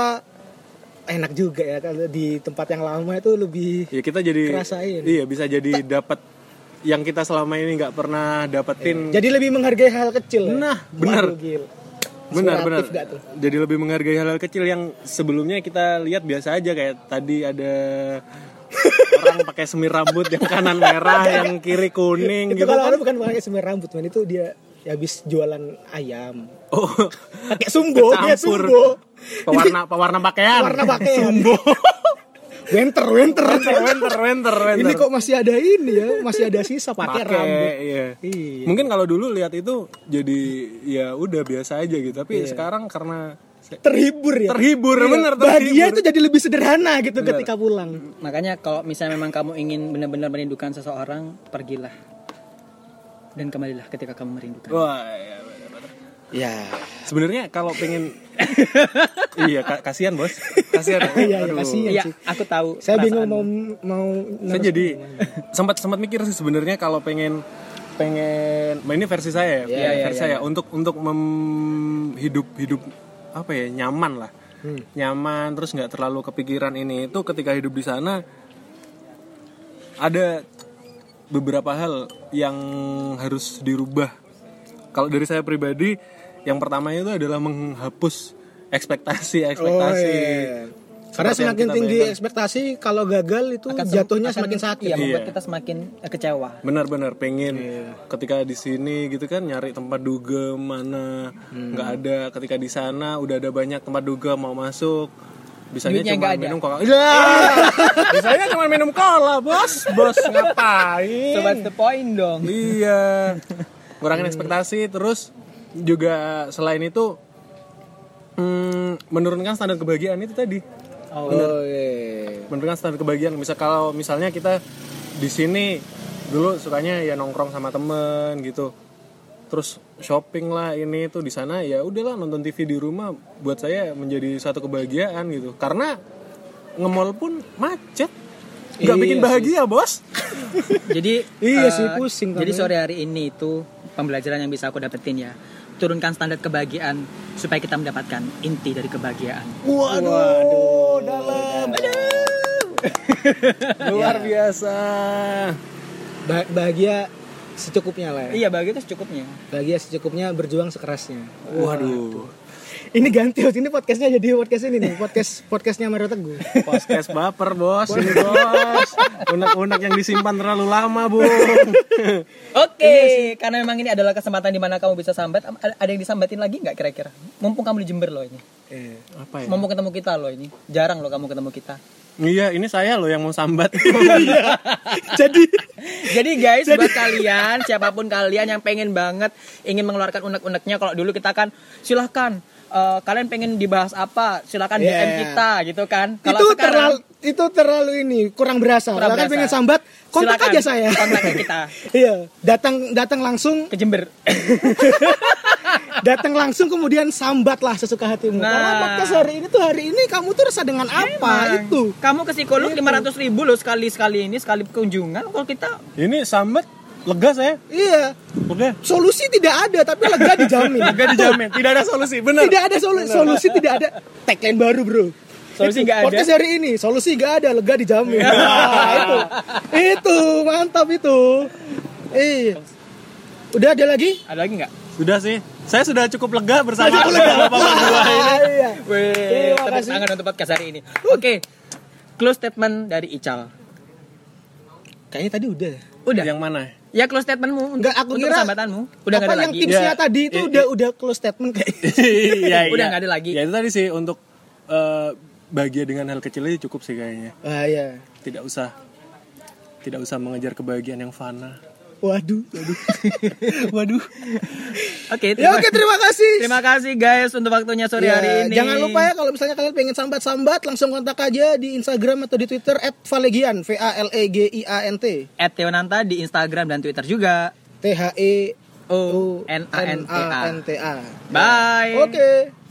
Speaker 3: enak juga ya kalau di tempat yang lama itu lebih
Speaker 2: ya kita jadi
Speaker 3: Kerasain.
Speaker 2: iya bisa jadi dapat yang kita selama ini nggak pernah dapetin gitu.
Speaker 3: jadi lebih menghargai hal kecil. ya.
Speaker 2: Nah, benar.
Speaker 3: Waduh, gila.
Speaker 2: benar benar
Speaker 3: Inspiratif nggak tuh?
Speaker 2: jadi lebih menghargai hal-hal kecil yang sebelumnya kita lihat biasa aja kayak tadi ada orang pakai semir rambut yang kanan merah yang kiri
Speaker 3: Iya.
Speaker 2: kuning
Speaker 3: itu
Speaker 2: gitu
Speaker 3: kalau
Speaker 2: kan
Speaker 3: kan bukan pakai semir rambut men itu dia ya habis jualan ayam
Speaker 2: oh
Speaker 3: pakai sumbo Oh, dia
Speaker 2: Kecampur.
Speaker 3: sumbo
Speaker 2: pewarna pewarna pakaian
Speaker 3: warna pakaian
Speaker 2: sumbo
Speaker 3: winter winter
Speaker 2: winter winter
Speaker 3: ini kok masih ada ini ya masih ada sisa pakai rambut
Speaker 2: iya.
Speaker 3: Iya.
Speaker 2: mungkin kalau dulu lihat itu jadi ya udah biasa aja gitu tapi sekarang karena
Speaker 3: terhibur ya
Speaker 2: terhibur
Speaker 3: Iya,
Speaker 2: bener
Speaker 3: bahagia
Speaker 2: terhibur
Speaker 3: itu jadi lebih sederhana gitu ketika pulang
Speaker 1: Makanya kalau misalnya memang kamu ingin benar-benar merindukan seseorang, pergilah dan kembalilah ketika kamu merindukan.
Speaker 2: wah iya, bener, bener. Iya.
Speaker 3: ya
Speaker 2: sebenarnya kalau pengen iya ka- kasihan bos kasihan
Speaker 3: iya iya
Speaker 2: Aduh.
Speaker 3: kasihan
Speaker 1: Iya,
Speaker 3: sih
Speaker 1: aku tahu.
Speaker 3: saya bingung
Speaker 1: perasaanmu.
Speaker 3: mau mau
Speaker 2: saya jadi sempat sempat mikir sih sebenarnya kalau pengen pengen nah, ini versi saya ya
Speaker 1: Iya, iya,
Speaker 2: versi
Speaker 1: iya.
Speaker 2: saya untuk untuk mem, hidup hidup apa ya nyaman lah
Speaker 1: Hmm.
Speaker 2: nyaman terus nggak terlalu kepikiran ini itu ketika hidup di sana ada beberapa hal yang harus dirubah kalau dari saya pribadi yang pertama itu adalah menghapus ekspektasi ekspektasi
Speaker 3: Oh, iya, karena
Speaker 2: Seperti yang
Speaker 3: semakin
Speaker 2: kita
Speaker 3: tinggi
Speaker 2: bayangkan.
Speaker 3: ekspektasi kalau gagal itu
Speaker 1: Akan sem-
Speaker 3: jatuhnya
Speaker 1: akan-
Speaker 3: semakin sakit
Speaker 1: Iya, membuat
Speaker 2: Iya.
Speaker 1: kita semakin eh, kecewa.
Speaker 2: benar-benar pengen ketika di sini gitu kan nyari tempat duga mana
Speaker 1: Hmm.
Speaker 2: nggak ada ketika di sana udah ada banyak tempat duga mau masuk bisanya
Speaker 1: Duitnya
Speaker 2: cuma
Speaker 1: nggak ada.
Speaker 2: minum cola bisanya cuma minum cola bos bos ngapain
Speaker 1: Sobat the point dong.
Speaker 2: iya kurangin ekspektasi terus juga selain itu hmm, menurunkan standar kebahagiaan itu tadi
Speaker 1: Oh,
Speaker 3: Oh, iya.
Speaker 2: menurunkan standar kebahagiaan misal kalau misalnya kita di sini dulu sukanya ya nongkrong sama temen gitu terus shopping lah ini tuh di sana ya udahlah nonton TV di rumah buat saya menjadi satu kebahagiaan gitu karena ngemol pun macet nggak
Speaker 3: Iya
Speaker 2: bikin
Speaker 3: sih.
Speaker 2: bahagia bos
Speaker 1: Jadi eh,
Speaker 3: Iya sih, pusing
Speaker 1: Jadi
Speaker 3: karena-
Speaker 1: sore hari ini itu pembelajaran yang bisa aku dapetin ya. Turunkan standar kebahagiaan supaya kita mendapatkan inti dari kebahagiaan.
Speaker 2: waduh, dalam Aduh. luar
Speaker 3: Iya.
Speaker 2: biasa
Speaker 3: Bah- bahagia secukupnya lah ya.
Speaker 1: Iya, bahagia itu secukupnya.
Speaker 3: Bahagia secukupnya berjuang sekerasnya.
Speaker 2: waduh
Speaker 3: Ini ganti host ini podcastnya jadi podcast ini nih, podcast podcastnya Mario Teguh.
Speaker 2: Podcast baper bos, ini bos. Unek-unek yang disimpan terlalu lama bung.
Speaker 1: Oke,
Speaker 3: Iya
Speaker 1: karena memang ini adalah kesempatan di mana kamu bisa sambat. Am- Ada ada yang disambatin lagi nggak kira-kira? Mumpung kamu di Jember loh ini.
Speaker 3: Eh,
Speaker 2: Apa ya?
Speaker 1: Mumpung ketemu kita loh ini. Jarang loh kamu ketemu kita.
Speaker 2: Iya, ini saya loh yang mau sambat.
Speaker 3: jadi
Speaker 1: Jadi guys, buat kalian, siapapun kalian yang pengen banget ingin mengeluarkan unek-uneknya, kalau dulu kita kan silahkan. eh, kalian pengen dibahas apa? Silahkan
Speaker 3: Yeah.
Speaker 1: DM kita gitu kan. Kalau
Speaker 3: Iya. itu
Speaker 1: sekarang,
Speaker 3: terlalu itu terlalu ini kurang berasa.
Speaker 1: Kurang
Speaker 3: Kalau kan
Speaker 1: berasa.
Speaker 3: pengen sambat, kontak
Speaker 1: silakan
Speaker 3: aja saya.
Speaker 1: Kontak kita
Speaker 3: iya, datang datang langsung,
Speaker 1: ke Jember.
Speaker 3: datang langsung kemudian sambatlah sesuka
Speaker 1: Nah.
Speaker 3: hatimu. Karena podcast hari ini tuh hari ini kamu tuh resah dengan apa itu? Gitu.
Speaker 1: Kamu ke psikolog 500 ribu loh sekali sekali ini sekali kunjungan. Kalau kita
Speaker 2: ini sambat lega saya.
Speaker 3: Iya,
Speaker 2: Oke.
Speaker 3: solusi tidak ada tapi lega dijamin.
Speaker 2: Lega dijamin, tidak ada solusi, benar.
Speaker 3: tidak ada solu- solusi tidak ada tagline baru bro
Speaker 1: Solusi nggak ada.
Speaker 3: podcast hari ini solusi nggak ada lega dijamin Nah, itu itu mantap itu eh udah ada lagi
Speaker 1: ada lagi nggak?
Speaker 2: Sudah sih. Saya sudah cukup lega bersama
Speaker 3: Cukup lega.
Speaker 2: bapak berdua ini.
Speaker 3: Ah, iya.
Speaker 1: Weh,
Speaker 3: Terima
Speaker 1: tepuk
Speaker 3: kasih.
Speaker 1: tangan untuk podcast hari ini. Oke. Close statement dari Ical.
Speaker 3: kayaknya tadi udah
Speaker 1: Udah.
Speaker 2: Yang mana?
Speaker 1: Ya close statementmu untuk,
Speaker 3: Enggak, aku
Speaker 1: untuk
Speaker 3: kira
Speaker 1: persahabatanmu. Udah nggak
Speaker 3: apa
Speaker 1: ada lagi.
Speaker 3: yang
Speaker 1: Iya.
Speaker 3: tipsnya
Speaker 2: Ya,
Speaker 3: tadi itu
Speaker 2: i-
Speaker 3: udah udah close statement kayak
Speaker 2: Iya,
Speaker 1: Udah
Speaker 2: iya.
Speaker 1: nggak ada lagi.
Speaker 2: Ya itu tadi sih untuk eh, bahagia dengan hal kecil aja cukup sih kayaknya.
Speaker 3: ah ya
Speaker 2: Tidak usah tidak usah mengejar kebahagiaan yang fana.
Speaker 3: waduh waduh
Speaker 1: Waduh. Oke,
Speaker 3: ya
Speaker 1: terima,
Speaker 3: oke terima kasih
Speaker 1: terima kasih guys untuk waktunya sore
Speaker 3: Ya,
Speaker 1: hari ini.
Speaker 3: Jangan lupa ya kalau misalnya kalian pengen sambat-sambat langsung kontak aja di Instagram atau di Twitter @valegian v a l e g i a n t
Speaker 1: At Teonanta di Instagram dan Twitter juga.
Speaker 3: t h e
Speaker 1: O N A N T A.
Speaker 3: Oh, N T A.
Speaker 1: Bye.
Speaker 3: Oke.